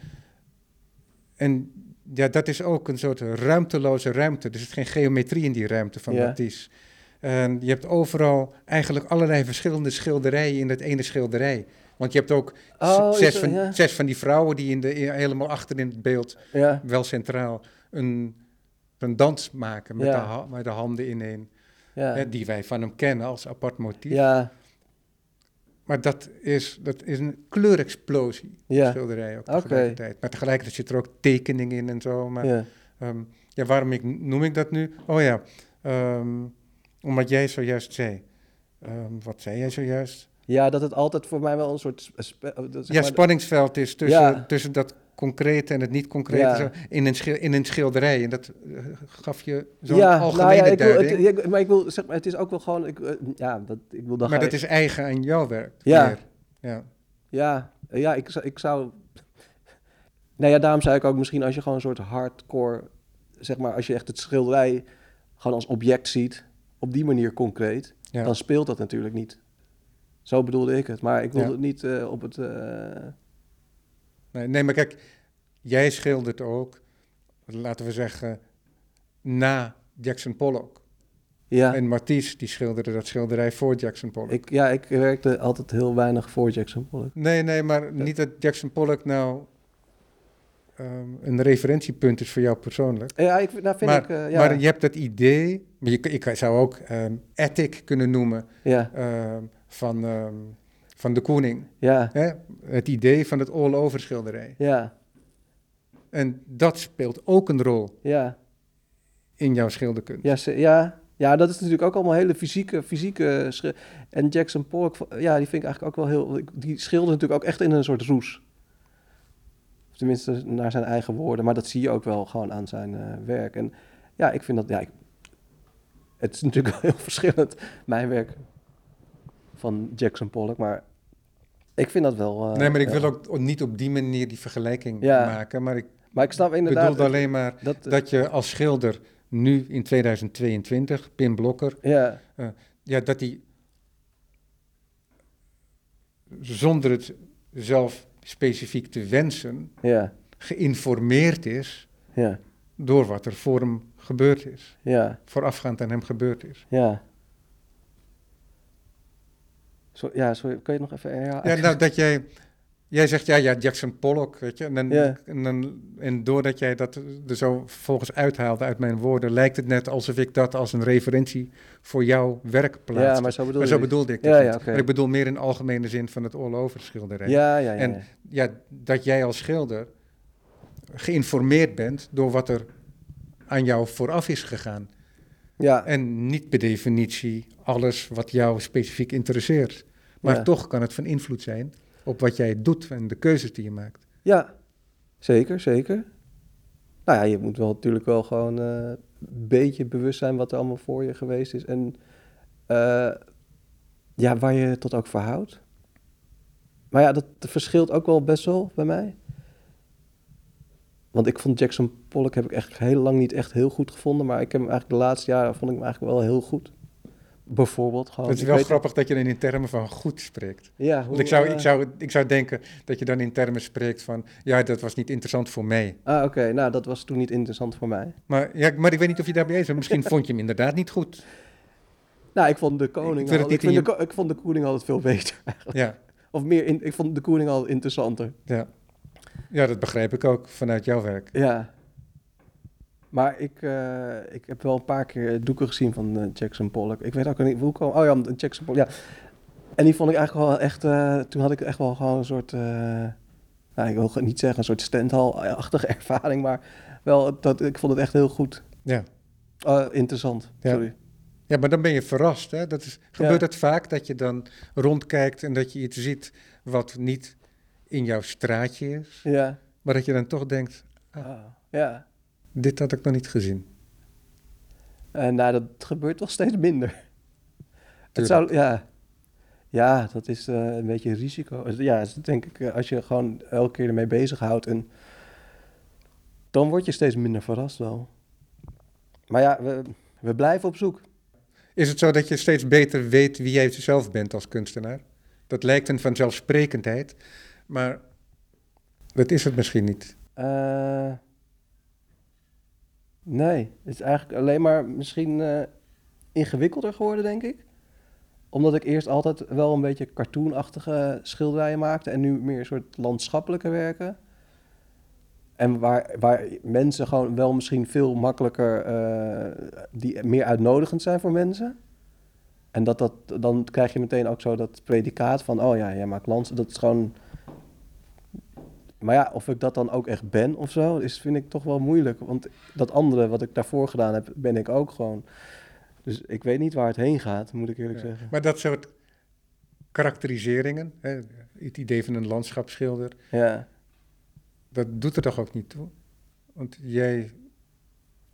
[SPEAKER 1] en ja, dat is ook een soort ruimteloze ruimte. Er zit geen geometrie in die ruimte van
[SPEAKER 2] Ja.
[SPEAKER 1] Matisse. En je hebt overal eigenlijk allerlei verschillende schilderijen in dat ene schilderij. Want je hebt ook z-
[SPEAKER 2] Oh, is
[SPEAKER 1] zes,
[SPEAKER 2] er-
[SPEAKER 1] van,
[SPEAKER 2] ja.
[SPEAKER 1] zes van die vrouwen die in de, in- helemaal achter in het beeld,
[SPEAKER 2] ja,
[SPEAKER 1] wel centraal, een, een dans maken met,
[SPEAKER 2] Ja.
[SPEAKER 1] de, ha- met de handen ineen.
[SPEAKER 2] ja,
[SPEAKER 1] Hè, die wij van hem kennen als apart motief.
[SPEAKER 2] ja,
[SPEAKER 1] Maar dat is, dat is een kleurexplosie
[SPEAKER 2] ja,
[SPEAKER 1] schilderij ook
[SPEAKER 2] Oké.
[SPEAKER 1] tegelijkertijd. Maar tegelijkertijd zit er ook tekening in en zo. Maar
[SPEAKER 2] ja,
[SPEAKER 1] ehm, ja, waarom ik, noem ik dat nu? Oh ja, ehm, omdat jij zojuist zei. Ehm, wat zei jij zojuist?
[SPEAKER 2] ja, dat het altijd voor mij wel een soort... spe- spe- eh, zeg
[SPEAKER 1] ja,
[SPEAKER 2] maar-
[SPEAKER 1] spanningsveld is tussen,
[SPEAKER 2] Ja.
[SPEAKER 1] tussen dat concrete en het niet concrete
[SPEAKER 2] Ja.
[SPEAKER 1] zo, in, een schil- in een schilderij. En dat eh, gaf je zo'n
[SPEAKER 2] Ja,
[SPEAKER 1] algemene
[SPEAKER 2] nou ja, ik wil,
[SPEAKER 1] duiding.
[SPEAKER 2] het, ja, ik- maar ik wil, zeg maar, het is ook wel gewoon, ik, eh, ja, dat, ik wil dan
[SPEAKER 1] maar
[SPEAKER 2] ga
[SPEAKER 1] dat
[SPEAKER 2] je-
[SPEAKER 1] is eigen aan jouw werk.
[SPEAKER 2] Ja.
[SPEAKER 1] meer. ja.
[SPEAKER 2] ja, eh, ja, ik, zou- ik zou, nou ja, daarom zei ik ook misschien als je gewoon een soort hardcore, zeg maar, als je echt het schilderij gewoon als object ziet, op die manier concreet,
[SPEAKER 1] Ja.
[SPEAKER 2] dan speelt dat natuurlijk niet. Zo bedoelde ik het, maar ik wilde
[SPEAKER 1] Ja.
[SPEAKER 2] het niet eh, op het, eh,
[SPEAKER 1] Nee, nee, maar kijk, jij schildert ook, laten we zeggen, na Jackson Pollock.
[SPEAKER 2] ja,
[SPEAKER 1] En Matisse, die schilderde dat schilderij voor Jackson Pollock.
[SPEAKER 2] ik, ja, ik werkte altijd heel weinig voor Jackson Pollock.
[SPEAKER 1] Nee, nee, maar niet dat Jackson Pollock nou ehm, een referentiepunt is voor jou persoonlijk.
[SPEAKER 2] Ja, ik, nou vind
[SPEAKER 1] maar,
[SPEAKER 2] ik, eh, ja,
[SPEAKER 1] maar je hebt dat idee, maar je, ik zou ook ehm ethic kunnen noemen
[SPEAKER 2] ja,
[SPEAKER 1] ehm, van, ehm, van de koning.
[SPEAKER 2] ja,
[SPEAKER 1] Hè? Het idee van het all-over schilderij.
[SPEAKER 2] ja,
[SPEAKER 1] En dat speelt ook een rol
[SPEAKER 2] ja.
[SPEAKER 1] in jouw schilderkunst.
[SPEAKER 2] Ja, ze- ja, ja, dat is natuurlijk ook allemaal hele fysieke, fysieke schi- En Jackson Pollock, va- ja, die vind ik eigenlijk ook wel heel... ik- Die schildert natuurlijk ook echt in een soort roes. Of Tenminste, naar zijn eigen woorden. Maar dat zie je ook wel gewoon aan zijn eh, werk. En ja, ik vind dat... Ja, ik- het is natuurlijk wel heel verschillend, mijn werk van Jackson Pollock. Maar ik vind dat wel... eh,
[SPEAKER 1] Nee, maar ik
[SPEAKER 2] ja.
[SPEAKER 1] wil ook niet op die manier die vergelijking
[SPEAKER 2] Ja.
[SPEAKER 1] maken. Maar ik
[SPEAKER 2] Maar ik snap inderdaad...
[SPEAKER 1] bedoelde alleen maar
[SPEAKER 2] dat, dat,
[SPEAKER 1] dat je als schilder nu in 2022, Pim Blokker,
[SPEAKER 2] ja,
[SPEAKER 1] ja, dat hij zonder het zelf specifiek te wensen,
[SPEAKER 2] ja,
[SPEAKER 1] geïnformeerd is
[SPEAKER 2] ja,
[SPEAKER 1] door wat er voor hem gebeurd is,
[SPEAKER 2] ja.
[SPEAKER 1] voorafgaand aan hem gebeurd is.
[SPEAKER 2] Ja. Zo, ja, sorry, kun je het nog even herhalen?
[SPEAKER 1] Ja, nou, dat jij, jij zegt, ja, ja, Jackson Pollock, weet je. En, dan,
[SPEAKER 2] Ja.
[SPEAKER 1] en, dan, en doordat jij dat er zo volgens uithaalde uit mijn woorden, lijkt het net alsof ik dat als een referentie voor jouw werk plaats.
[SPEAKER 2] ja, maar zo bedoel
[SPEAKER 1] Maar
[SPEAKER 2] je
[SPEAKER 1] zo
[SPEAKER 2] het.
[SPEAKER 1] bedoelde ik
[SPEAKER 2] Ja,
[SPEAKER 1] dat
[SPEAKER 2] ja,
[SPEAKER 1] niet.
[SPEAKER 2] oké.
[SPEAKER 1] Maar ik bedoel meer in algemene zin van het all-over schilderij.
[SPEAKER 2] Ja, ja, ja.
[SPEAKER 1] En-
[SPEAKER 2] ja.
[SPEAKER 1] Ja, dat jij als schilder geïnformeerd bent door wat er aan jou vooraf is gegaan.
[SPEAKER 2] ja,
[SPEAKER 1] En niet per definitie alles wat jou specifiek interesseert. Maar
[SPEAKER 2] Ja.
[SPEAKER 1] toch kan het van invloed zijn op wat jij doet en de keuzes die je maakt.
[SPEAKER 2] ja, zeker, zeker. Nou ja, je moet wel natuurlijk wel gewoon eh, een beetje bewust zijn wat er allemaal voor je geweest is. En eh, ja, waar je tot ook verhoudt. Maar ja, dat verschilt ook wel best wel bij mij. Want ik vond Jackson Pollock heb ik echt heel lang niet echt heel goed gevonden. Maar ik heb hem eigenlijk de laatste jaren vond ik hem eigenlijk wel heel goed. Bijvoorbeeld gewoon.
[SPEAKER 1] het is
[SPEAKER 2] Oh, ik
[SPEAKER 1] wel
[SPEAKER 2] weet-
[SPEAKER 1] grappig dat je dan in termen van goed spreekt.
[SPEAKER 2] Ja, hoe,
[SPEAKER 1] Want ik zou,
[SPEAKER 2] eh,
[SPEAKER 1] ik, zou, ik zou denken dat je dan in termen spreekt van... ja, dat was niet interessant voor mij.
[SPEAKER 2] Ah, oké. Nou, dat was toen niet interessant voor mij.
[SPEAKER 1] Maar, ja, maar ik weet niet of je daarbij eens bent. Misschien vond je hem inderdaad niet goed.
[SPEAKER 2] Nou, ik vond de koning.
[SPEAKER 1] Ik vind
[SPEAKER 2] al-
[SPEAKER 1] het
[SPEAKER 2] Ik,
[SPEAKER 1] niet
[SPEAKER 2] vind
[SPEAKER 1] in
[SPEAKER 2] de, ko- ik vond de koning altijd veel beter.
[SPEAKER 1] Ja,
[SPEAKER 2] Of meer. In, ik vond de koning al interessanter.
[SPEAKER 1] ja. ja, dat begrijp ik ook vanuit jouw werk.
[SPEAKER 2] Ja. Maar ik, eh, ik heb wel een paar keer doeken gezien van eh, Jackson Pollock. Ik weet ook niet hoe kwam. Oh ja, omdat Jackson Pollock. Ja. En die vond ik eigenlijk wel echt. eh, toen had ik echt wel gewoon een soort. eh, nou, ik wil het niet zeggen een soort standhal-achtige ervaring. Maar wel, dat, ik vond het echt heel goed.
[SPEAKER 1] Ja.
[SPEAKER 2] Eh, interessant.
[SPEAKER 1] Ja.
[SPEAKER 2] Sorry.
[SPEAKER 1] ja, maar dan ben je verrast. Hè? Dat is, gebeurt dat vaak, dat je dan rondkijkt... en dat je iets ziet wat niet in jouw straatje is...
[SPEAKER 2] Ja.
[SPEAKER 1] maar dat je dan toch denkt,
[SPEAKER 2] Ah, Ja.
[SPEAKER 1] dit had ik nog niet gezien.
[SPEAKER 2] En nou, dat gebeurt toch steeds minder. Het
[SPEAKER 1] Tuurlijk.
[SPEAKER 2] zou, ja. ja, dat is eh, een beetje een risico. Ja, dat is denk ik, eh, als je gewoon elke keer ermee bezighoudt, en, dan word je steeds minder verrast wel. Maar ja, we, we blijven op zoek.
[SPEAKER 1] Is het zo dat je steeds beter weet wie jij zelf bent als kunstenaar? Dat lijkt een vanzelfsprekendheid, maar dat is het misschien niet.
[SPEAKER 2] Eh, nee, het is eigenlijk alleen maar misschien eh, ingewikkelder geworden, denk ik. Omdat ik eerst altijd wel een beetje cartoonachtige schilderijen maakte en nu meer een soort landschappelijke werken. En waar, waar mensen gewoon wel misschien veel makkelijker, eh, die meer uitnodigend zijn voor mensen. En dat dat, dan krijg je meteen ook zo dat predicaat van, oh ja, jij maakt lands. Dat is gewoon maar ja, of ik dat dan ook echt ben of zo, is, vind ik toch wel moeilijk. Want dat andere wat ik daarvoor gedaan heb, ben ik ook gewoon. Dus ik weet niet waar het heen gaat, moet ik eerlijk
[SPEAKER 1] Ja.
[SPEAKER 2] zeggen.
[SPEAKER 1] Maar dat soort karakteriseringen, hè, het idee van een landschapsschilder,
[SPEAKER 2] Ja.
[SPEAKER 1] dat doet er toch ook niet toe? Want jij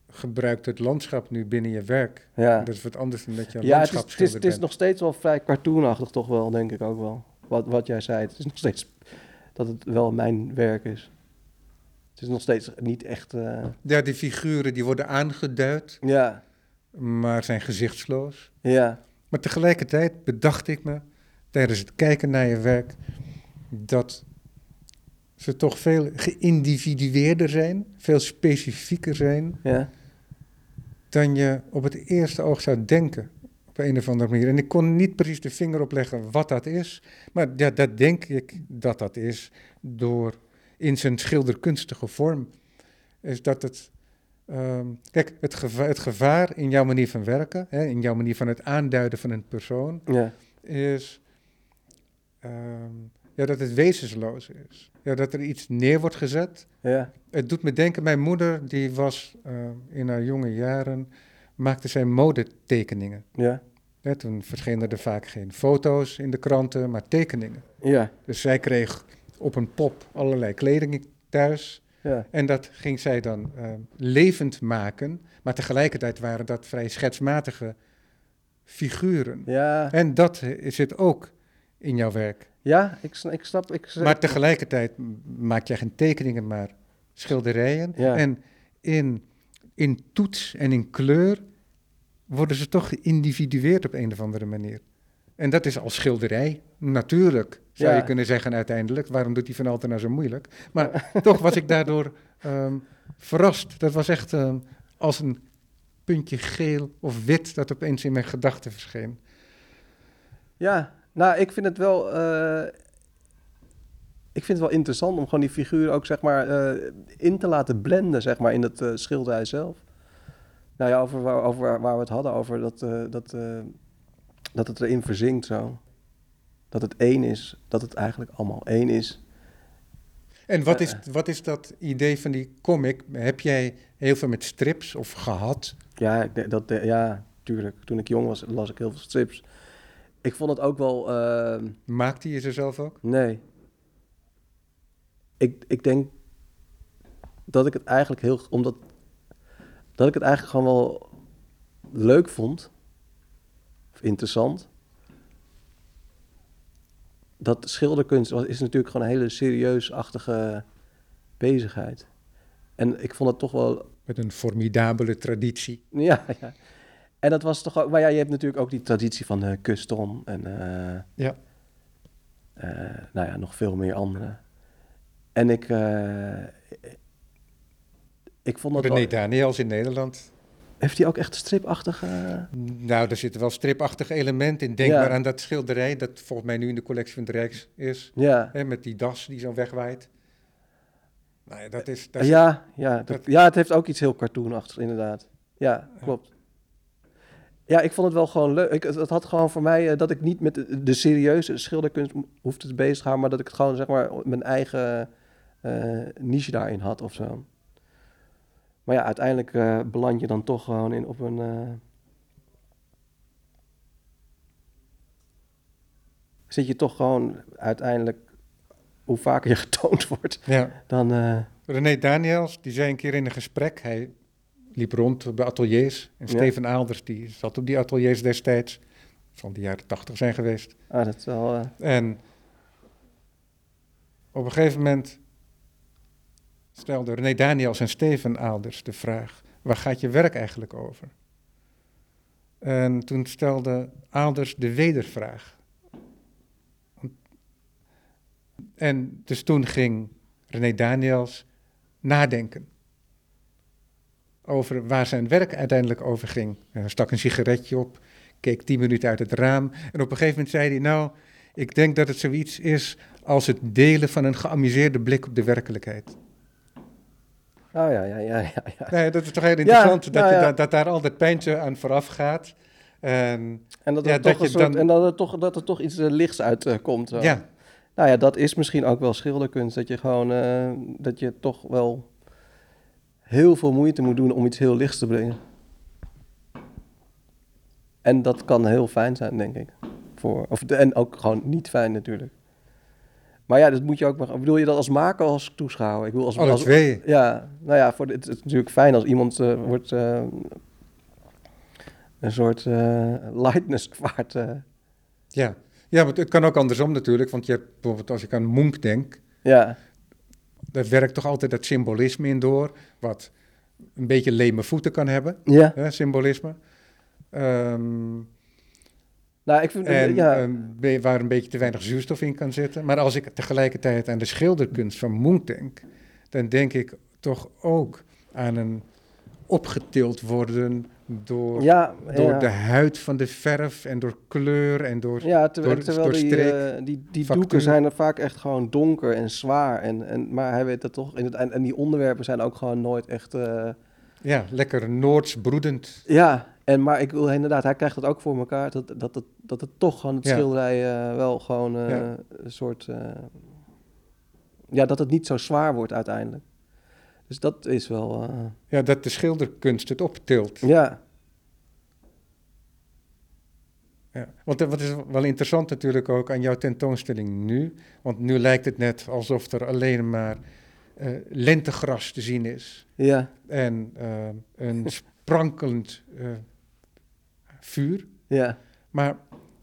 [SPEAKER 1] gebruikt het landschap nu binnen je werk.
[SPEAKER 2] ja.
[SPEAKER 1] Dat is wat anders dan dat je een
[SPEAKER 2] Ja, het is, het, is,
[SPEAKER 1] landschapsschilder
[SPEAKER 2] het is nog steeds wel vrij cartoonachtig, toch wel, denk ik ook wel. Wat, wat jij zei, het is nog steeds dat het wel mijn werk is. Het is nog steeds niet echt. eh,
[SPEAKER 1] bent. Ja, die figuren die worden aangeduid,
[SPEAKER 2] ja,
[SPEAKER 1] maar zijn gezichtsloos.
[SPEAKER 2] ja,
[SPEAKER 1] Maar tegelijkertijd bedacht ik me tijdens het kijken naar je werk dat ze toch veel geïndividueerder zijn, veel specifieker zijn
[SPEAKER 2] ja,
[SPEAKER 1] dan je op het eerste oog zou denken. Op een of andere manier. En ik kon niet precies de vinger opleggen wat dat is. Maar ja, dat denk ik dat dat is door in zijn schilderkunstige vorm. Is dat het. ehm, kijk, het gevaar, het gevaar in jouw manier van werken, hè, in jouw manier van het aanduiden van een persoon,
[SPEAKER 2] ja,
[SPEAKER 1] is ehm, ja, dat het wezensloos is. Ja, dat er iets neer wordt gezet.
[SPEAKER 2] ja,
[SPEAKER 1] Het doet me denken, mijn moeder die was ehm, in haar jonge jaren, maakte zij modetekeningen.
[SPEAKER 2] ja,
[SPEAKER 1] Hè, toen verschenen er vaak geen foto's in de kranten, maar tekeningen.
[SPEAKER 2] ja,
[SPEAKER 1] Dus zij kreeg op een pop allerlei kleding thuis.
[SPEAKER 2] ja,
[SPEAKER 1] En dat ging zij dan ehm, levend maken. Maar tegelijkertijd waren dat vrij schetsmatige figuren.
[SPEAKER 2] ja.
[SPEAKER 1] En dat eh, zit ook in jouw werk.
[SPEAKER 2] Ja, ik, sn- ik snap. Ik, s-
[SPEAKER 1] Maar tegelijkertijd m- maak jij geen tekeningen, maar schilderijen.
[SPEAKER 2] Ja.
[SPEAKER 1] En in, in toets en in kleur worden ze toch geïndividueerd op een of andere manier. En dat is als schilderij, natuurlijk, zou
[SPEAKER 2] Ja.
[SPEAKER 1] je kunnen zeggen uiteindelijk. Waarom doet die Van Alten nou zo moeilijk? Maar toch was ik daardoor ehm, verrast. Dat was echt ehm, als een puntje geel of wit dat opeens in mijn gedachten verscheen.
[SPEAKER 2] Ja, nou, ik vind het wel. eh, ik vind het wel interessant om gewoon die figuur ook zeg maar eh, in te laten blenden, zeg maar, in dat eh, schilderij zelf. Nou ja, over, waar- over waar- waar we het hadden, over dat, eh, dat, eh, dat het erin verzinkt zo. Dat het één is, dat het eigenlijk allemaal één is.
[SPEAKER 1] En wat
[SPEAKER 2] Eh.
[SPEAKER 1] is, wat is dat idee van die comic? Heb jij heel veel met strips of gehad?
[SPEAKER 2] Ja, ik denk dat, eh, ja, tuurlijk. Toen ik jong was, las ik heel veel strips. Ik vond het ook wel. eh,
[SPEAKER 1] Maakte je ze zelf ook?
[SPEAKER 2] Nee. Ik, ik denk dat ik het eigenlijk heel. Omdat. Dat ik het eigenlijk gewoon wel leuk vond. Of interessant. Dat schilderkunst was- is natuurlijk gewoon een hele serieus-achtige bezigheid. En ik vond dat toch wel
[SPEAKER 1] Met een formidabele traditie.
[SPEAKER 2] Ja, ja. En dat was toch ook... Maar ja, je hebt natuurlijk ook die traditie van eh custom en... eh,
[SPEAKER 1] Ja.
[SPEAKER 2] eh, nou ja, nog veel meer andere. En ik... eh, ik vond dat
[SPEAKER 1] René
[SPEAKER 2] wel-
[SPEAKER 1] Daniels in Nederland.
[SPEAKER 2] Heeft hij ook echt stripachtige...
[SPEAKER 1] Nou, daar zit wel stripachtig element in. Denk
[SPEAKER 2] Ja.
[SPEAKER 1] maar aan dat schilderij dat volgens mij nu in de collectie van het Rijks is.
[SPEAKER 2] Ja.
[SPEAKER 1] Hè, met die das die zo wegwaait. Nou ja, dat is... Dat is-
[SPEAKER 2] Ja, ja, dat-
[SPEAKER 1] dat-
[SPEAKER 2] ja, het heeft ook iets heel cartoonachtigs, inderdaad. Ja, klopt. Ja, ik vond het wel gewoon leuk. Ik, het, het had gewoon voor mij eh, dat ik niet met de, de serieuze schilderkunst m- hoefde te bezighouden, maar dat ik het gewoon, zeg maar, mijn eigen eh, niche daarin had of zo. Maar ja, uiteindelijk eh, beland je dan toch gewoon in op een. eh, Zit je toch gewoon uiteindelijk, hoe vaker je getoond wordt,
[SPEAKER 1] ja.
[SPEAKER 2] dan. eh,
[SPEAKER 1] René Daniels, die zei een keer in een gesprek, hij liep rond bij ateliers. En
[SPEAKER 2] Ja.
[SPEAKER 1] Steven Aalders, die zat op die ateliers destijds, van de jaren tachtig zijn geweest.
[SPEAKER 2] Ah, dat is wel... eh,
[SPEAKER 1] En op een gegeven moment stelde René Daniels en Steven Aalders de vraag, waar gaat je werk eigenlijk over? En toen stelde Aalders de wedervraag. En dus toen ging René Daniels nadenken over waar zijn werk uiteindelijk over ging. En Hij stak een sigaretje op, keek tien minuten uit het raam en op een gegeven moment zei hij, nou, ik denk dat het zoiets is als het delen van een geamuseerde blik op de werkelijkheid.
[SPEAKER 2] Oh ja, ja, ja, ja. ja.
[SPEAKER 1] Nou ja, dat is toch heel interessant, dat,
[SPEAKER 2] nou
[SPEAKER 1] je
[SPEAKER 2] ja.
[SPEAKER 1] da- dat daar altijd pijntje aan vooraf gaat. En,
[SPEAKER 2] En dat,
[SPEAKER 1] Ja,
[SPEAKER 2] er
[SPEAKER 1] dat
[SPEAKER 2] toch een
[SPEAKER 1] je
[SPEAKER 2] soort,
[SPEAKER 1] dan-
[SPEAKER 2] en dat er toch, dat er toch iets eh, lichts uit eh, komt. zo.
[SPEAKER 1] ja,
[SPEAKER 2] Nou ja, dat is misschien ook wel schilderkunst. Dat je gewoon, eh, dat je toch wel heel veel moeite moet doen om iets heel lichts te brengen. En dat kan heel fijn zijn, denk ik. Voor, of, de- en ook gewoon niet fijn natuurlijk. Maar ja, dat moet je ook maar... Bedoel je dat als maker of als toeschouwer? Ik bedoel, als,
[SPEAKER 1] alle
[SPEAKER 2] als,
[SPEAKER 1] twee.
[SPEAKER 2] Ja, nou ja, voor de- het, het is natuurlijk fijn als iemand eh, wordt eh, een soort eh, lightness ervaart. eh.
[SPEAKER 1] Ja. ja, maar het kan ook andersom natuurlijk, want je hebt bijvoorbeeld als ik aan Monk denk,
[SPEAKER 2] ja,
[SPEAKER 1] daar werkt toch altijd dat symbolisme in door, wat een beetje leme voeten kan hebben,
[SPEAKER 2] ja.
[SPEAKER 1] hè, symbolisme. Ehm,
[SPEAKER 2] Nou, ik vind
[SPEAKER 1] En eh,
[SPEAKER 2] ja,
[SPEAKER 1] een be- waar een beetje te weinig zuurstof in kan zitten. Maar als ik tegelijkertijd aan de schilderkunst van Munch denk, dan denk ik toch ook aan een opgetild worden door,
[SPEAKER 2] ja,
[SPEAKER 1] door
[SPEAKER 2] ja.
[SPEAKER 1] de huid van de verf en door kleur en door.
[SPEAKER 2] Ja, terwijl,
[SPEAKER 1] door-
[SPEAKER 2] terwijl
[SPEAKER 1] door
[SPEAKER 2] die,
[SPEAKER 1] streek,
[SPEAKER 2] eh, die, die
[SPEAKER 1] factuur.
[SPEAKER 2] doeken zijn er vaak echt gewoon donker en zwaar. En, en, maar hij weet dat toch. In het, en, en die onderwerpen zijn ook gewoon nooit echt... eh,
[SPEAKER 1] Ja, lekker Noords broedend.
[SPEAKER 2] Ja, en, maar ik wil inderdaad, hij krijgt dat ook voor elkaar. Dat, dat, dat, dat het toch gewoon het
[SPEAKER 1] Ja.
[SPEAKER 2] schilderij eh, wel gewoon eh,
[SPEAKER 1] Ja.
[SPEAKER 2] een soort. eh, ja, dat het niet zo zwaar wordt uiteindelijk. Dus dat is wel. eh,
[SPEAKER 1] Ja, dat de schilderkunst het optilt.
[SPEAKER 2] ja,
[SPEAKER 1] Ja. Want eh, wat is wel interessant natuurlijk ook aan jouw tentoonstelling nu. Want nu lijkt het net alsof er alleen maar eh, lentegras te zien is.
[SPEAKER 2] ja,
[SPEAKER 1] en eh, een sprankelend eh, vuur.
[SPEAKER 2] ja.
[SPEAKER 1] Maar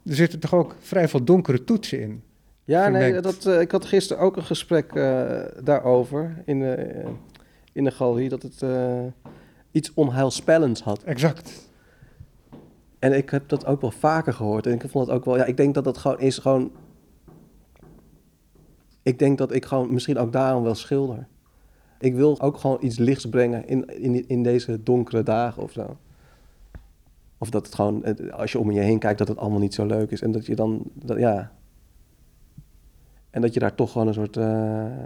[SPEAKER 1] er zitten toch ook vrij veel donkere toetsen in.
[SPEAKER 2] Ja, nee,
[SPEAKER 1] Vermengd.
[SPEAKER 2] dat, eh, ik had gisteren ook een gesprek eh, daarover in de, eh, in de galerie. Dat het eh, iets onheilspellends had.
[SPEAKER 1] Exact.
[SPEAKER 2] En ik heb dat ook wel vaker gehoord. En ik vond dat ook wel. Ja, ik denk dat dat gewoon is gewoon. Ik denk dat ik gewoon misschien ook daarom wel schilder. Ik wil ook gewoon iets lichts brengen in, in, in deze donkere dagen of zo. Of dat het gewoon, eh, als je om je heen kijkt, dat het allemaal niet zo leuk is. En dat je dan, dat, ja. En dat je daar toch gewoon een soort. eh,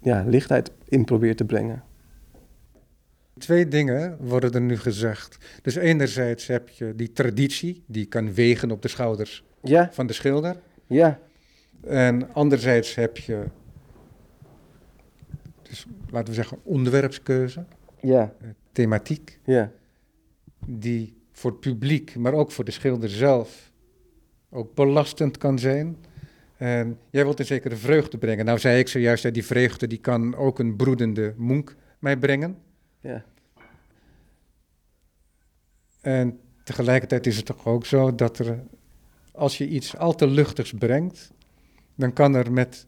[SPEAKER 2] ja, lichtheid in probeert te brengen.
[SPEAKER 1] Twee dingen worden er nu gezegd. Dus enerzijds heb je die traditie, die kan wegen op de schouders
[SPEAKER 2] Ja,
[SPEAKER 1] van de schilder.
[SPEAKER 2] ja,
[SPEAKER 1] En anderzijds heb je, dus laten we zeggen, onderwerpskeuze,
[SPEAKER 2] ja,
[SPEAKER 1] thematiek.
[SPEAKER 2] ja.
[SPEAKER 1] die voor het publiek, maar ook voor de schilder zelf, ook belastend kan zijn. En jij wilt een zekere vreugde brengen. Nou zei ik zojuist, hè, die vreugde die kan ook een broedende monk mij brengen.
[SPEAKER 2] ja.
[SPEAKER 1] En tegelijkertijd is het toch ook zo dat er, als je iets al te luchtigs brengt, dan kan er met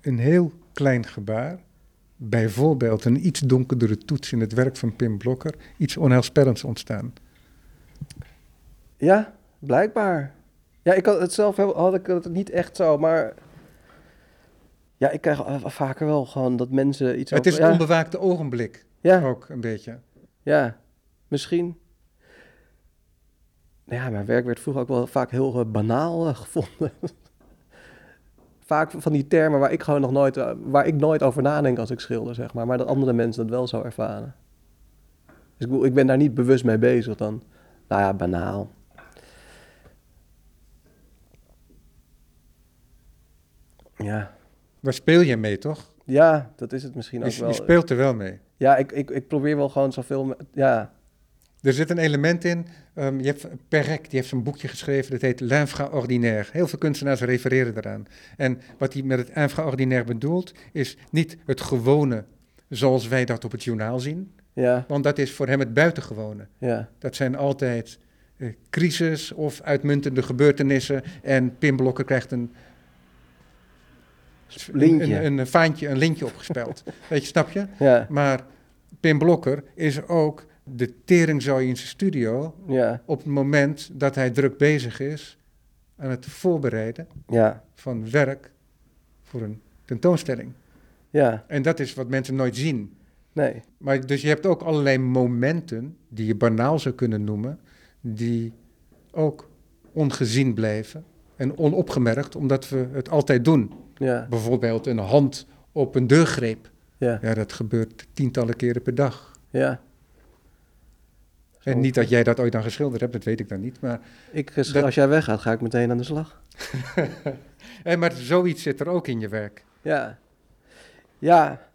[SPEAKER 1] een heel klein gebaar bijvoorbeeld een iets donkerdere toets in het werk van Pim Blokker iets onheilspellends ontstaan.
[SPEAKER 2] Ja, blijkbaar. Ja, ik had het zelf heel- had ik het niet echt zo, maar. Ja, ik krijg eh, vaker wel gewoon dat mensen iets.
[SPEAKER 1] het is
[SPEAKER 2] over-
[SPEAKER 1] een
[SPEAKER 2] ja,
[SPEAKER 1] onbewaakte ogenblik
[SPEAKER 2] ja,
[SPEAKER 1] ook een beetje.
[SPEAKER 2] ja, misschien. Nou Ja, mijn werk werd vroeger ook wel vaak heel eh, banaal eh, gevonden. vaak van die termen waar ik gewoon nog nooit, eh, waar ik nooit over nadenk als ik schilder, zeg maar. Maar dat andere mensen dat wel zo ervaren. Dus ik, bedoel, ik ben daar niet bewust mee bezig dan. Nou ja, banaal. Ja,
[SPEAKER 1] Waar speel je mee, toch?
[SPEAKER 2] ja dat is het misschien ook
[SPEAKER 1] Je,
[SPEAKER 2] wel.
[SPEAKER 1] je speelt er wel mee.
[SPEAKER 2] Ja, ik, ik, ik probeer wel gewoon zoveel... me- Ja,
[SPEAKER 1] Er zit een element in. ehm, je hebt Perec, die heeft zo'n boekje geschreven, dat heet L'infra ordinaire. Heel veel kunstenaars refereren daaraan. En wat hij met het infra ordinaire bedoelt, is niet het gewone zoals wij dat op het journaal zien.
[SPEAKER 2] ja,
[SPEAKER 1] Want dat is voor hem het buitengewone.
[SPEAKER 2] ja.
[SPEAKER 1] Dat zijn altijd eh, crisis of uitmuntende gebeurtenissen. En Pim Blokker krijgt een,
[SPEAKER 2] Lintje.
[SPEAKER 1] een, een vaantje, een lintje opgespeld. Weet je, snap je?
[SPEAKER 2] Ja,
[SPEAKER 1] Maar Pim Blokker is ook de teringzooi in zijn studio
[SPEAKER 2] ja,
[SPEAKER 1] op het moment dat hij druk bezig is aan het voorbereiden
[SPEAKER 2] ja,
[SPEAKER 1] van werk voor een tentoonstelling.
[SPEAKER 2] ja.
[SPEAKER 1] En dat is wat mensen nooit zien.
[SPEAKER 2] Nee,
[SPEAKER 1] Maar dus je hebt ook allerlei momenten die je banaal zou kunnen noemen, die ook ongezien blijven en onopgemerkt, omdat we het altijd doen.
[SPEAKER 2] ja,
[SPEAKER 1] Bijvoorbeeld een hand op een deurgreep.
[SPEAKER 2] ja,
[SPEAKER 1] Ja, dat gebeurt tientallen keren per dag.
[SPEAKER 2] ja.
[SPEAKER 1] En niet dat jij dat ooit dan geschilderd hebt, dat weet ik dan niet. Maar,
[SPEAKER 2] Ik, eh,
[SPEAKER 1] dat-
[SPEAKER 2] Als jij weggaat, ga ik meteen aan de slag.
[SPEAKER 1] eh, maar zoiets zit er ook in je werk.
[SPEAKER 2] Ja. Ja,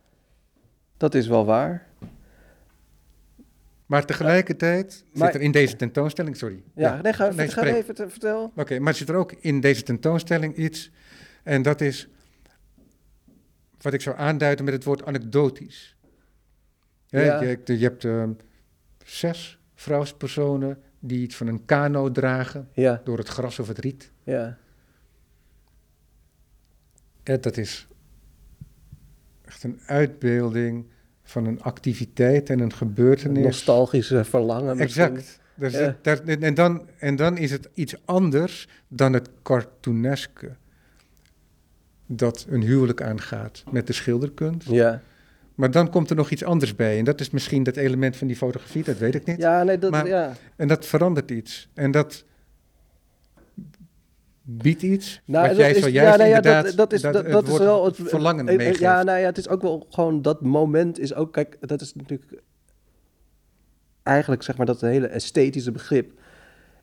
[SPEAKER 2] dat is wel waar.
[SPEAKER 1] Maar tegelijkertijd
[SPEAKER 2] Maar-
[SPEAKER 1] zit er in deze tentoonstelling, sorry.
[SPEAKER 2] Ja, nee, ga,
[SPEAKER 1] nee,
[SPEAKER 2] ga
[SPEAKER 1] spreek.
[SPEAKER 2] even te- vertel.
[SPEAKER 1] Oké, maar zit er ook in deze tentoonstelling iets, en dat is wat ik zou aanduiden met het woord anekdotisch. Hè,
[SPEAKER 2] Ja.
[SPEAKER 1] je, je hebt ehm, zes vrouwspersonen die iets van een kano dragen
[SPEAKER 2] Ja,
[SPEAKER 1] door het gras of het riet.
[SPEAKER 2] ja,
[SPEAKER 1] Hè, Eh, dat is echt een uitbeelding van een activiteit en een gebeurtenis.
[SPEAKER 2] nostalgische verlangen. misschien.
[SPEAKER 1] Exact. Daar
[SPEAKER 2] Ja.
[SPEAKER 1] zit- daar- en, dan, en dan is het iets anders dan het cartooneske dat een huwelijk aangaat met de schilderkunst.
[SPEAKER 2] Ja,
[SPEAKER 1] Maar dan komt er nog iets anders bij. En dat is misschien dat element van die fotografie, dat weet ik niet.
[SPEAKER 2] ja, nee, dat,
[SPEAKER 1] Maar-
[SPEAKER 2] ja.
[SPEAKER 1] En dat verandert iets. En dat biedt iets
[SPEAKER 2] Nou,
[SPEAKER 1] wat
[SPEAKER 2] dat
[SPEAKER 1] jij
[SPEAKER 2] is-
[SPEAKER 1] zojuist
[SPEAKER 2] ja, nee, ja,
[SPEAKER 1] inderdaad...
[SPEAKER 2] dat, dat is, dat,
[SPEAKER 1] het
[SPEAKER 2] dat is
[SPEAKER 1] woord
[SPEAKER 2] wel het
[SPEAKER 1] verlangen
[SPEAKER 2] eh, eh,
[SPEAKER 1] meegeeft.
[SPEAKER 2] Ja, nou ja, het is ook wel gewoon dat moment is ook. Kijk, dat is natuurlijk eigenlijk zeg maar dat hele esthetische begrip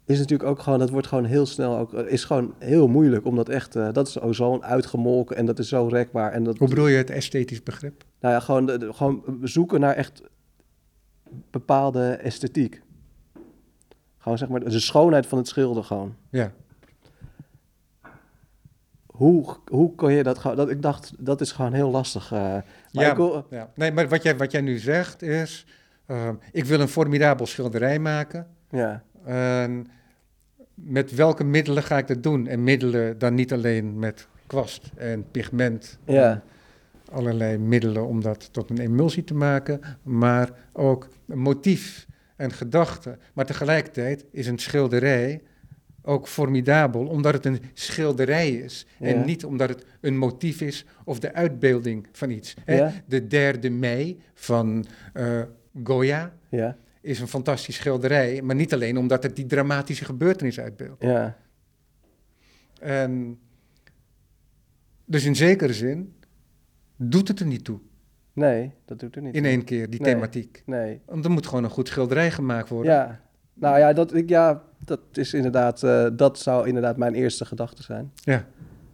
[SPEAKER 2] is natuurlijk ook gewoon. Dat wordt gewoon heel snel ook eh, is gewoon heel moeilijk om dat echt. eh, dat is ook zo'n uitgemolken en dat is zo rekbaar en dat.
[SPEAKER 1] Hoe bedoel je het esthetisch begrip?
[SPEAKER 2] Nou ja, gewoon, de- de- gewoon zoeken naar echt bepaalde esthetiek. Gewoon zeg maar de schoonheid van het schilder gewoon
[SPEAKER 1] Ja,
[SPEAKER 2] hoe, hoe kon je dat gewoon... Dat, ik dacht, dat is gewoon heel lastig. eh. maar
[SPEAKER 1] ja,
[SPEAKER 2] ik wil-
[SPEAKER 1] ja. Nee, maar wat jij, wat jij nu zegt is... ehm, ik wil een formidabel schilderij maken...
[SPEAKER 2] ja,
[SPEAKER 1] En met welke middelen ga ik dat doen? En middelen dan niet alleen met kwast en pigment.
[SPEAKER 2] ja,
[SPEAKER 1] Allerlei middelen om dat tot een emulsie te maken. Maar ook een motief en gedachten. Maar tegelijkertijd is een schilderij ook formidabel omdat het een schilderij is.
[SPEAKER 2] Ja.
[SPEAKER 1] En niet omdat het een motief is of de uitbeelding van iets. Hè?
[SPEAKER 2] Ja.
[SPEAKER 1] De derde mei van eh, Goya
[SPEAKER 2] ja,
[SPEAKER 1] is een fantastisch schilderij, maar niet alleen omdat het die dramatische gebeurtenis uitbeeldt.
[SPEAKER 2] ja,
[SPEAKER 1] En dus in zekere zin doet het er niet toe
[SPEAKER 2] Nee, dat doet er niet.
[SPEAKER 1] in één keer, die
[SPEAKER 2] Nee.
[SPEAKER 1] thematiek.
[SPEAKER 2] Nee,
[SPEAKER 1] Want er moet gewoon een goed schilderij gemaakt worden.
[SPEAKER 2] ja. Nou ja, dat, ik- ja, dat is inderdaad... eh, dat zou inderdaad mijn eerste gedachte zijn.
[SPEAKER 1] Ja.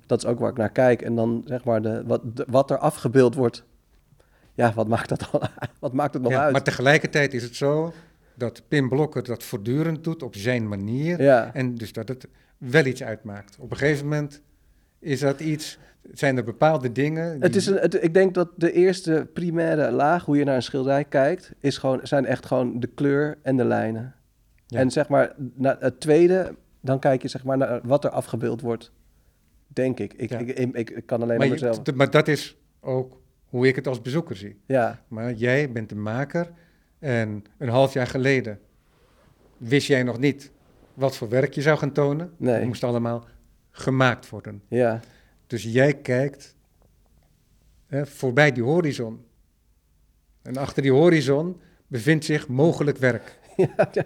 [SPEAKER 2] Dat is ook waar ik naar kijk. En dan zeg maar, de, wat, de- wat er afgebeeld wordt... Ja, wat maakt dat dan uit? Wat maakt het nog
[SPEAKER 1] Ja,
[SPEAKER 2] uit?
[SPEAKER 1] maar tegelijkertijd is het zo dat Pim Blokker dat voortdurend doet op zijn manier.
[SPEAKER 2] ja,
[SPEAKER 1] En dus dat het wel iets uitmaakt. Op een gegeven moment is dat iets, zijn er bepaalde dingen. die-
[SPEAKER 2] Het is een, het- ik denk dat de eerste primaire laag, hoe je naar een schilderij kijkt, is gewoon, zijn echt gewoon de kleur en de lijnen.
[SPEAKER 1] Ja.
[SPEAKER 2] En zeg maar, na, het tweede, dan kijk je zeg maar naar wat er afgebeeld wordt. Denk ik. Ik,
[SPEAKER 1] Ja.
[SPEAKER 2] ik, ik, ik kan alleen
[SPEAKER 1] maar,
[SPEAKER 2] naar
[SPEAKER 1] je-
[SPEAKER 2] mezelf.
[SPEAKER 1] t- maar dat is ook hoe ik het als bezoeker zie.
[SPEAKER 2] Ja,
[SPEAKER 1] Maar jij bent de maker en een half jaar geleden wist jij nog niet wat voor werk je zou gaan tonen.
[SPEAKER 2] Nee.
[SPEAKER 1] Het moest allemaal gemaakt worden.
[SPEAKER 2] ja,
[SPEAKER 1] Dus jij kijkt hè, voorbij die horizon. En achter die horizon bevindt zich mogelijk werk.
[SPEAKER 2] ja, ja,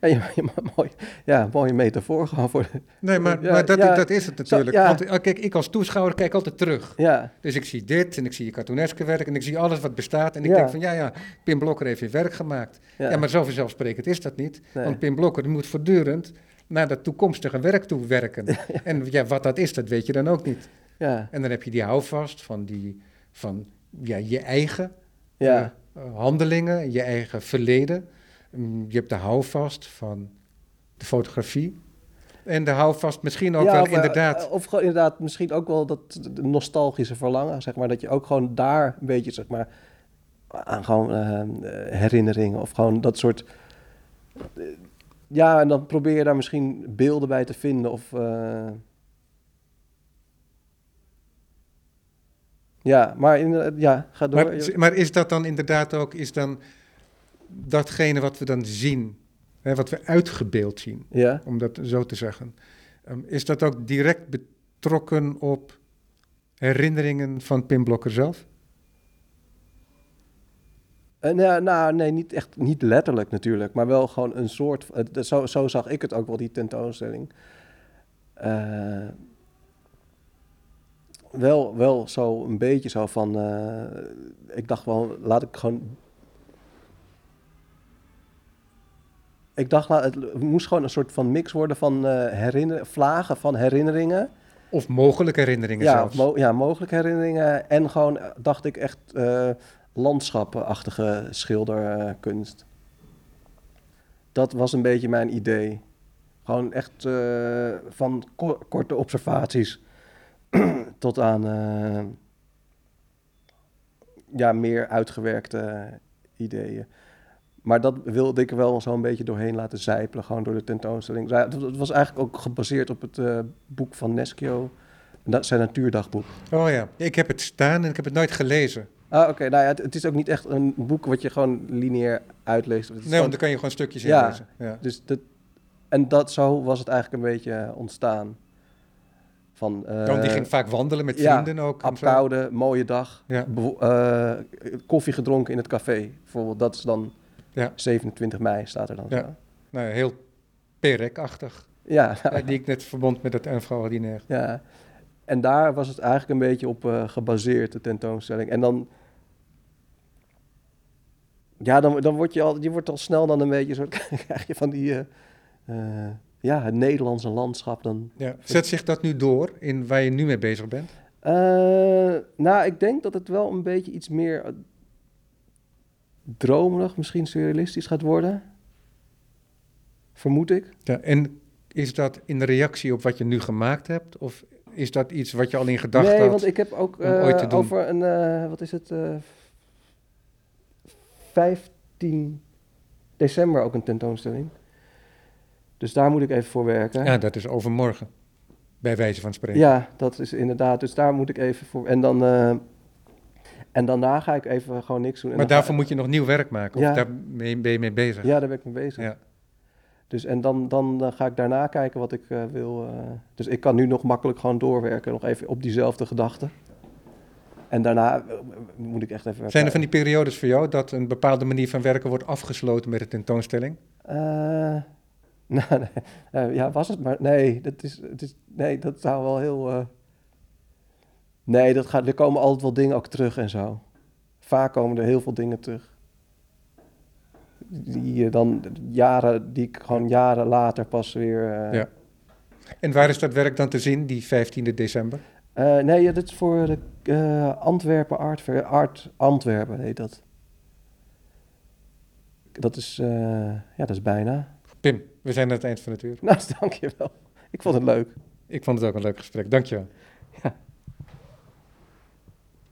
[SPEAKER 2] ja, ja, ja, maar mooi, ja, mooie metafoor gewoon voor.
[SPEAKER 1] Nee, maar,
[SPEAKER 2] Ja,
[SPEAKER 1] maar dat,
[SPEAKER 2] ja.
[SPEAKER 1] dat is het natuurlijk.
[SPEAKER 2] ja.
[SPEAKER 1] Want ah, kijk, ik als toeschouwer kijk altijd terug.
[SPEAKER 2] Ja,
[SPEAKER 1] Dus ik zie dit en ik zie je cartooneske werk en ik zie alles wat bestaat. En ik
[SPEAKER 2] Ja.
[SPEAKER 1] denk van ja, ja, Pim Blokker heeft weer werk gemaakt.
[SPEAKER 2] ja,
[SPEAKER 1] Ja, maar zo vanzelfsprekend is dat niet.
[SPEAKER 2] nee.
[SPEAKER 1] Want Pim Blokker die moet voortdurend naar dat toekomstige werk toe werken. En ja, wat dat is, dat weet je dan ook niet.
[SPEAKER 2] ja,
[SPEAKER 1] En dan heb je die houvast van, die, van ja, je eigen
[SPEAKER 2] ja,
[SPEAKER 1] eh, handelingen, je eigen verleden. Mm, Je hebt de houvast van de fotografie. En de houvast misschien ook
[SPEAKER 2] Ja,
[SPEAKER 1] wel
[SPEAKER 2] of, eh,
[SPEAKER 1] inderdaad.
[SPEAKER 2] eh, Of gewoon inderdaad, misschien ook wel dat nostalgische verlangen, zeg maar. Dat je ook gewoon daar een beetje, zeg maar, aan gewoon eh, eh, herinneringen of gewoon dat soort... eh, ja, en dan probeer je daar misschien beelden bij te vinden of... eh, ja, maar inderdaad, ja, ga door.
[SPEAKER 1] maar, is- maar is dat dan inderdaad ook, is dan datgene wat we dan zien, hè, wat we uitgebeeld zien,
[SPEAKER 2] ja,
[SPEAKER 1] om dat zo te zeggen, ehm, is dat ook direct betrokken op herinneringen van Pim Blokker zelf?
[SPEAKER 2] Eh, nou, nou, nee, niet echt, niet letterlijk natuurlijk, maar wel gewoon een soort. het- het- zo, zo zag ik het ook wel, die tentoonstelling. Eh, wel, wel zo een beetje zo van. eh, ik dacht wel, laat ik gewoon. Ik dacht, laat- het moest gewoon een soort van mix worden van eh herinner, vlagen van herinneringen.
[SPEAKER 1] Of mogelijke herinneringen
[SPEAKER 2] Ja,
[SPEAKER 1] zelfs?
[SPEAKER 2] mo- ja, mogelijke herinneringen. En gewoon, eh, dacht ik, echt eh, landschappenachtige schilderkunst. Dat was een beetje mijn idee. Gewoon echt eh, van ko- korte observaties tot aan eh, ja, meer uitgewerkte ideeën. Maar dat wilde ik er wel zo'n beetje doorheen laten zijpelen, gewoon door de tentoonstelling. Ja, Het het was eigenlijk ook gebaseerd op het eh, boek van Neschio, na- zijn natuurdagboek.
[SPEAKER 1] Oh ja, ik heb het staan en ik heb het nooit gelezen.
[SPEAKER 2] Ah, oké. Nou ja, het, het is ook niet echt een boek wat je gewoon lineair uitleest. Het is
[SPEAKER 1] Nee, want
[SPEAKER 2] gewoon-
[SPEAKER 1] dan kan je gewoon stukjes
[SPEAKER 2] Ja.
[SPEAKER 1] inlezen. Ja.
[SPEAKER 2] dus dat, en dat, zo was het eigenlijk een beetje eh, ontstaan. Van, eh,
[SPEAKER 1] Want die ging vaak wandelen met
[SPEAKER 2] ja,
[SPEAKER 1] vrienden ook. en zo.
[SPEAKER 2] Apkoude, mooie dag.
[SPEAKER 1] Ja.
[SPEAKER 2] Bewo- eh, koffie gedronken in het café. Bijvoorbeeld, dat is dan
[SPEAKER 1] Ja.
[SPEAKER 2] 27 mei staat er dan.
[SPEAKER 1] Ja.
[SPEAKER 2] zo.
[SPEAKER 1] Nou, heel perk-achtig.
[SPEAKER 2] ja.
[SPEAKER 1] eh, Die ik net verbond met dat infraordinair.
[SPEAKER 2] Ja, en daar was het eigenlijk een beetje op eh, gebaseerd, de tentoonstelling. En dan. Ja, dan, dan word je al, je wordt al snel dan een beetje zo. krijg je van die. eh, eh, ja, het Nederlandse landschap dan.
[SPEAKER 1] Ja. Zet zich dat nu door in waar je nu mee bezig bent?
[SPEAKER 2] Eh, nou, ik denk dat het wel een beetje iets meer. eh, dromerig, misschien surrealistisch gaat worden. Vermoed ik.
[SPEAKER 1] Ja. En is dat in reactie op wat je nu gemaakt hebt? Of is dat iets wat je al in gedachten
[SPEAKER 2] nee,
[SPEAKER 1] had?
[SPEAKER 2] want ik heb ook
[SPEAKER 1] om ooit te
[SPEAKER 2] eh,
[SPEAKER 1] doen.
[SPEAKER 2] over een, eh, wat is het, eh, 15 december ook een tentoonstelling. Dus daar moet ik even voor werken.
[SPEAKER 1] Ja, dat is overmorgen. Bij wijze van spreken.
[SPEAKER 2] Ja, dat is inderdaad. Dus daar moet ik even voor. En dan, eh, en daarna ga ik even gewoon niks doen. En
[SPEAKER 1] maar
[SPEAKER 2] dan ga-
[SPEAKER 1] daarvoor moet je nog nieuw werk maken. Of
[SPEAKER 2] Ja.
[SPEAKER 1] daar mee- ben je mee bezig.
[SPEAKER 2] Ja, daar ben ik mee bezig.
[SPEAKER 1] Ja.
[SPEAKER 2] Dus en dan, dan eh, ga ik daarna kijken wat ik eh, wil. eh. dus ik kan nu nog makkelijk gewoon doorwerken, nog even op diezelfde gedachten. En daarna eh, moet ik echt even.
[SPEAKER 1] Zijn er van die periodes voor jou dat een bepaalde manier van werken wordt afgesloten met een tentoonstelling?
[SPEAKER 2] Eh, nou, nee. Eh, ja, was het maar. Nee, dat, is, het is, nee, dat zou wel heel. eh, Nee, dat gaat, er komen altijd wel dingen ook terug en zo. Vaak komen er heel veel dingen terug. Die je dan jaren, die ik gewoon jaren later pas weer. eh,
[SPEAKER 1] Ja. En waar is dat werk dan te zien, die 15e december?
[SPEAKER 2] Eh, nee, ja, dit is voor de eh, Antwerpen Art Fair. Art Antwerpen heet dat. Dat is, eh, ja, dat is bijna.
[SPEAKER 1] Pim, we zijn aan het eind van het uur.
[SPEAKER 2] Nou, dankjewel. Ik vond het leuk.
[SPEAKER 1] Ik vond het ook een leuk gesprek. Dankjewel.
[SPEAKER 2] Ja.